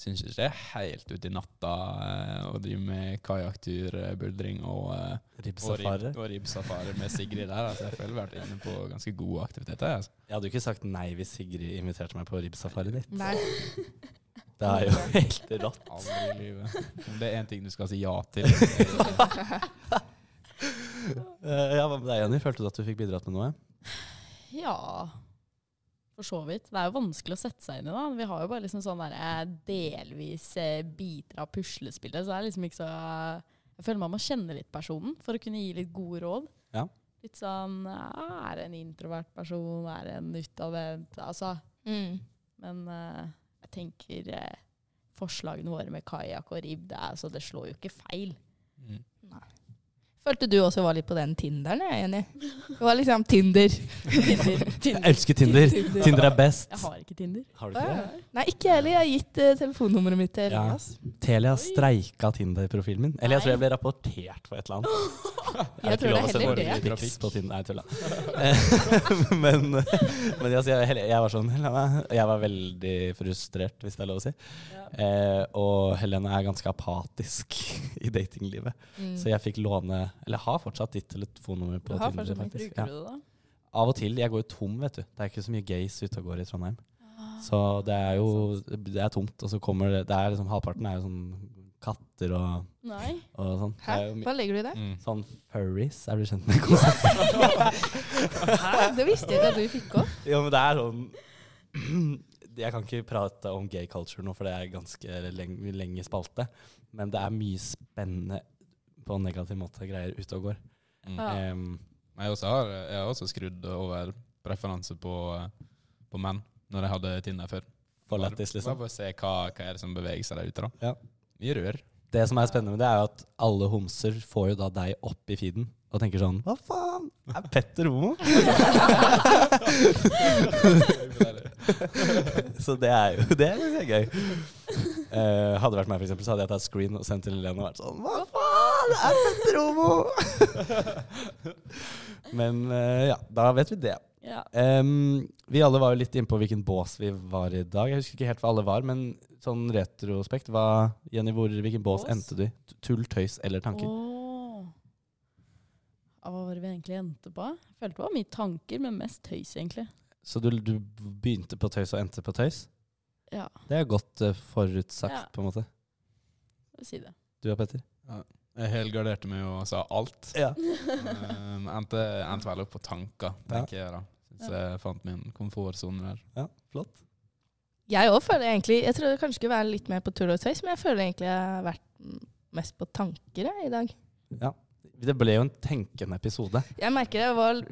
[SPEAKER 4] syns jeg ikke det er helt ute i natta eh, å drive med kajakktur, eh, buldring og, eh, og,
[SPEAKER 1] Ribbsafari?
[SPEAKER 4] ribb, og ribbsafari med Sigrid der. Altså, jeg føler vi har vært inne på ganske gode aktiviteter. Altså.
[SPEAKER 1] Jeg hadde jo ikke sagt nei hvis Sigrid inviterte meg på ribbsafari ditt.
[SPEAKER 2] Nei.
[SPEAKER 1] Det er jo [LAUGHS] helt rått.
[SPEAKER 4] Aldri i livet. Om det er én ting du skal si ja til. så er det-
[SPEAKER 1] Eh, ja, hva med deg, Jenny? Følte du at du fikk bidratt med noe?
[SPEAKER 3] Ja. For så vidt. Det er jo vanskelig å sette seg inn i, da. Vi har jo bare liksom sånn der eh, delvis eh, biter av puslespillet, så det er liksom ikke så Jeg føler man må kjenne litt personen for å kunne gi litt gode råd.
[SPEAKER 1] Ja.
[SPEAKER 3] Litt sånn eh, Er det en introvert person? Er det en utadvendt? Altså
[SPEAKER 2] Mm.
[SPEAKER 3] Men eh, jeg tenker eh, forslagene våre med kajakk og ribb, det, er, altså, det slår jo ikke
[SPEAKER 2] [LAUGHS]
[SPEAKER 3] feil.
[SPEAKER 4] Mm.
[SPEAKER 2] Følte du også var litt på den Tinderen, jeg er enig. Det var liksom Tinder.
[SPEAKER 3] Tinder,
[SPEAKER 1] Jeg
[SPEAKER 3] Tinder.
[SPEAKER 1] elsker Tinder! Tinder er best.
[SPEAKER 3] Jeg har ikke Tinder.
[SPEAKER 1] Har du
[SPEAKER 2] Å,
[SPEAKER 1] ikke det?
[SPEAKER 2] ja. Nei, ikke jeg heller. Jeg har gitt eh, telefonnummeret mitt til
[SPEAKER 1] Ja. Mm.
[SPEAKER 2] Elias.
[SPEAKER 1] Telia streika Tinder-profilen min. Eller jeg tror jeg
[SPEAKER 3] Nei.
[SPEAKER 1] ble rapportert for et eller annet.
[SPEAKER 2] Jeg tror det er heller
[SPEAKER 4] det.
[SPEAKER 1] ordentlig pics på Tinder. Nei,
[SPEAKER 2] [LAUGHS]
[SPEAKER 1] tulla. Eh, [LAUGHS] men men altså, jeg, Hel- jeg var sånn Helene, Jeg var veldig frustrert, hvis det er lov å si. Eh, og Helene er ganske apatisk [LAUGHS] i datinglivet.
[SPEAKER 2] Mm.
[SPEAKER 1] Så jeg fikk låne Eller jeg har fortsatt ditt telefonnummer på
[SPEAKER 2] Du har
[SPEAKER 1] Tinder.
[SPEAKER 2] fortsatt mitt,
[SPEAKER 1] faktisk.
[SPEAKER 3] Bruker
[SPEAKER 1] Ja.
[SPEAKER 3] du det, da?
[SPEAKER 1] Av og til. Jeg går jo tom, vet du. Det er ikke så mye gays ute og går i Trondheim. Så det er jo Det er tomt, og så kommer det, det er liksom Halvparten er jo sånn katter og,
[SPEAKER 3] Nei.
[SPEAKER 1] og sånn. Det
[SPEAKER 2] Hæ?
[SPEAKER 1] er jo mye-
[SPEAKER 2] Hva legger du i det?
[SPEAKER 4] Mm.
[SPEAKER 1] Sånn furries, er du kjent med konseptet?
[SPEAKER 2] [LAUGHS] Det visste jeg ikke at du fikk opp.
[SPEAKER 1] jo, men det er sånn [CLEARS THROAT] Jeg kan ikke prate om gay culture nå, for det er ganske lenge, lenge spalte. Men det er mye spennende på en negativ måte greier ute og går.
[SPEAKER 4] Mm.
[SPEAKER 3] Ja.
[SPEAKER 1] Em,
[SPEAKER 4] Men Jeg, også har, jeg har også skrudd over preferanse på, på menn når jeg hadde Tinder før.
[SPEAKER 1] for lættis, liksom.
[SPEAKER 4] Bare for å se hva, hva er det som beveger seg der ute. da.
[SPEAKER 1] Ja.
[SPEAKER 4] Mye rør.
[SPEAKER 1] Det som er spennende med det, er jo at alle homser får jo da deg opp i feeden og tenker sånn Hva faen? Er Petter homo? så det er jo Det syns jeg er gøy. Eh, hadde det vært meg, for eksempel, så hadde jeg tatt screen og sendt til Helene og vært sånn Hva faen? Er Petter homo? [LAUGHS] Men eh, ja, da vet vi det.
[SPEAKER 3] Ja.
[SPEAKER 1] Em, vi alle var jo litt innpå hvilken bås vi var i dag. Jeg husker ikke helt hva alle var, men sånn retrospekt hva, Jenny, hvor, hvilken bås,
[SPEAKER 3] Bås?
[SPEAKER 1] endte du i? T- Tull, tøys eller tanker?
[SPEAKER 3] Åh. Ja, hva var det vi egentlig endte på? Jeg følte det var mye tanker, men mest tøys, egentlig.
[SPEAKER 1] Så du, du begynte på tøys og endte på tøys?
[SPEAKER 3] Ja,
[SPEAKER 1] Det er godt eh, forutsagt,
[SPEAKER 3] Ja.
[SPEAKER 1] på en måte.
[SPEAKER 3] si det.
[SPEAKER 1] Du da, Petter?
[SPEAKER 4] Jeg helgarderte meg og sa alt.
[SPEAKER 1] Ja.
[SPEAKER 4] Um, endte, endte vel opp på tanker, tenker jeg da. Syns jeg fant min komfortsone der.
[SPEAKER 1] ja flott.
[SPEAKER 2] Jeg òg føler egentlig Jeg trodde jeg kanskje skulle være litt mer på tull og tøys, men jeg føler egentlig jeg har vært mm, mest på tanker jeg, i dag.
[SPEAKER 1] Det ble jo en tenkende episode.
[SPEAKER 2] Jeg merker det var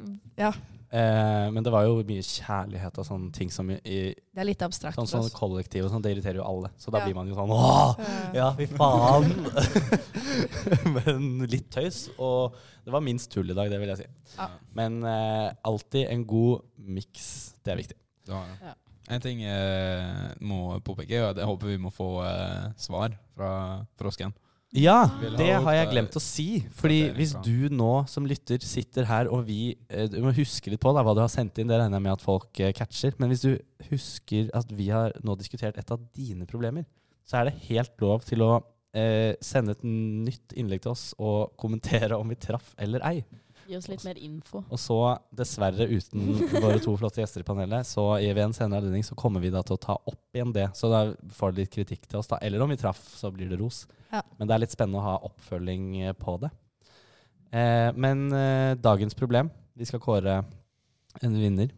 [SPEAKER 2] Ja,
[SPEAKER 1] Eh, men det var jo mye kjærlighet og sånne ting som i, i
[SPEAKER 2] det er litt abstrakt.
[SPEAKER 1] sånn,
[SPEAKER 2] for
[SPEAKER 1] sånn
[SPEAKER 2] oss.
[SPEAKER 1] kollektiv og sånn, det irriterer jo alle. Så da
[SPEAKER 2] Ja.
[SPEAKER 1] blir man jo sånn Åh!
[SPEAKER 2] Eh,
[SPEAKER 1] [LAUGHS] Ja, fy faen! men litt tøys. Og det var minst tull i dag, det vil jeg si.
[SPEAKER 2] Ja.
[SPEAKER 1] Men eh, alltid en god miks. Det er viktig.
[SPEAKER 4] Det har jeg.
[SPEAKER 3] Ja.
[SPEAKER 4] En ting jeg må påpeke, er at jeg håper vi må få eh, svar fra frosken.
[SPEAKER 1] Ja,
[SPEAKER 4] Vil ha
[SPEAKER 1] det har jeg
[SPEAKER 4] oppda-
[SPEAKER 1] glemt å si. Fordi
[SPEAKER 4] oppdatering
[SPEAKER 1] hvis
[SPEAKER 4] fra-
[SPEAKER 1] du nå som lytter sitter her, og vi eh, Du må huske litt på da, hva du har sendt inn, det regner jeg med at folk eh, catcher. Men hvis du husker at vi har nå diskutert et av dine problemer, så er det helt lov til å eh, sende et nytt innlegg til oss og kommentere om vi traff eller ei.
[SPEAKER 3] Gi oss litt mer info.
[SPEAKER 1] Og så, dessverre uten våre to flotte gjester i panelet, så i ved en senere anledning så kommer vi da til å ta opp igjen det. Så da får du litt kritikk til oss, da. Eller om vi traff, så blir det ros.
[SPEAKER 2] Ja.
[SPEAKER 1] Men det er litt spennende å ha oppfølging eh, på det. Eh, men eh, dagens problem Vi skal kåre en vinner.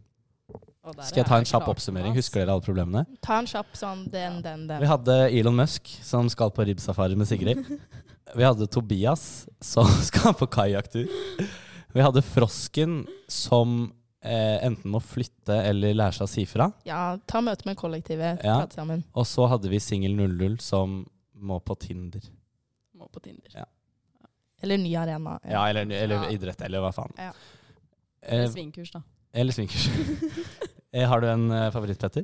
[SPEAKER 3] Og der
[SPEAKER 1] Skal jeg
[SPEAKER 3] er
[SPEAKER 1] ta en
[SPEAKER 3] det
[SPEAKER 1] kjapp
[SPEAKER 3] klart,
[SPEAKER 1] oppsummering?
[SPEAKER 3] ass.
[SPEAKER 1] Husker dere alle problemene?
[SPEAKER 2] Ta en kjapp sånn den, den, den.
[SPEAKER 1] Vi hadde Elon Musk, som skal på ribbsafari med Sigrid. Vi hadde Tobias, som [LAUGHS] skal på kajakktur. Vi hadde Frosken, som eh, enten må flytte eller lære seg å si fra.
[SPEAKER 2] Ja, ta møte med kollektivet.
[SPEAKER 1] Ja.
[SPEAKER 2] Prate sammen.
[SPEAKER 1] Og så hadde vi Singel 00, som må på Tinder.
[SPEAKER 3] [LAUGHS] Må på
[SPEAKER 1] Eh,
[SPEAKER 3] Tinder.
[SPEAKER 2] Eller ny arena.
[SPEAKER 1] Ja, eller, eller
[SPEAKER 3] Ja.
[SPEAKER 1] idrett, eller hva faen.
[SPEAKER 2] Ja.
[SPEAKER 3] Eller
[SPEAKER 1] Eh,
[SPEAKER 3] svingkurs, da.
[SPEAKER 1] eller svinkers. [LAUGHS] Eh, har du en eh, favoritt, Petter?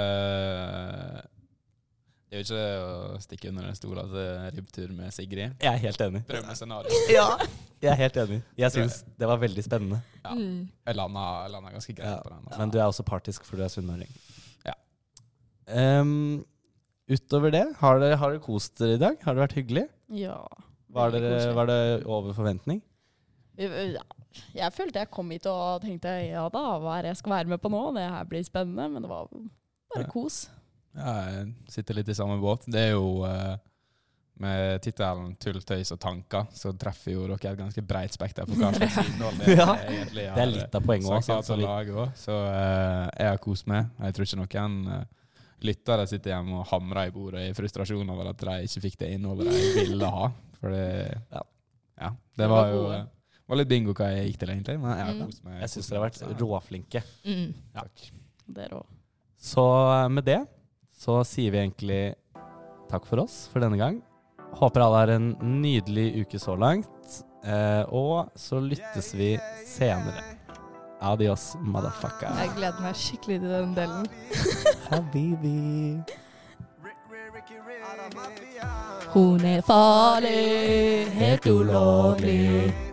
[SPEAKER 4] Eh, det er jo ikke å stikke under en stol at eh, ribbtur med Sigrid
[SPEAKER 1] Jeg er helt enig.
[SPEAKER 4] Drømmescenario.
[SPEAKER 1] Ja. Jeg er helt enig. Jeg syns det var veldig spennende.
[SPEAKER 4] Ja.
[SPEAKER 2] Mm.
[SPEAKER 4] Jeg landa, jeg landa ganske greit
[SPEAKER 1] Ja,
[SPEAKER 4] på den. altså.
[SPEAKER 1] Men du er også partisk, for du er sunnmøring.
[SPEAKER 4] Ja.
[SPEAKER 1] Ehm, utover det, har dere, har dere kost dere i dag? Har det vært hyggelig?
[SPEAKER 3] Ja.
[SPEAKER 1] Var,
[SPEAKER 3] Veldig
[SPEAKER 1] dere,
[SPEAKER 3] koselig.
[SPEAKER 1] var det over forventning?
[SPEAKER 3] Vi- ja. Jeg følte jeg kom hit og tenkte ja da, hva er det jeg skal være med på nå? Det her blir spennende. Men det var bare
[SPEAKER 4] Ja.
[SPEAKER 3] kos.
[SPEAKER 4] Ja, jeg sitter litt i samme båt. Det er jo eh, med tittelen 'Tull, tøys og tanker' så treffer jo dere et ganske breit spekter på [LAUGHS] hva slags innhold det
[SPEAKER 1] [LAUGHS] Ja.
[SPEAKER 4] egentlig
[SPEAKER 1] Det er litt av poenget også,
[SPEAKER 4] sagt ja
[SPEAKER 1] altså,
[SPEAKER 4] til å lage også. Så eh, jeg har kost meg. Jeg tror ikke noen eh, lyttere sitter hjemme og hamrer i bordet i frustrasjon over at de ikke fikk det innholdet de ville ha. For det
[SPEAKER 1] Ja.
[SPEAKER 4] ja,
[SPEAKER 3] Det
[SPEAKER 4] det
[SPEAKER 3] var
[SPEAKER 4] var jo
[SPEAKER 3] gode.
[SPEAKER 4] eh, var litt bingo hva jeg gikk til, egentlig. Men jeg har
[SPEAKER 2] Mm.
[SPEAKER 4] kost meg.
[SPEAKER 1] Jeg syns dere har
[SPEAKER 4] Så, ja.
[SPEAKER 1] vært råflinke.
[SPEAKER 2] Mm.
[SPEAKER 4] Takk.
[SPEAKER 3] Dere òg.
[SPEAKER 1] Så eh, med det så sier vi egentlig takk for oss for denne gang. Håper alle har en nydelig uke så langt. Eh, og så lyttes vi senere. Adios, motherfucker.
[SPEAKER 2] Jeg gleder meg skikkelig til den delen.
[SPEAKER 1] Habibi.
[SPEAKER 2] Hun er farlig, helt ulovlig.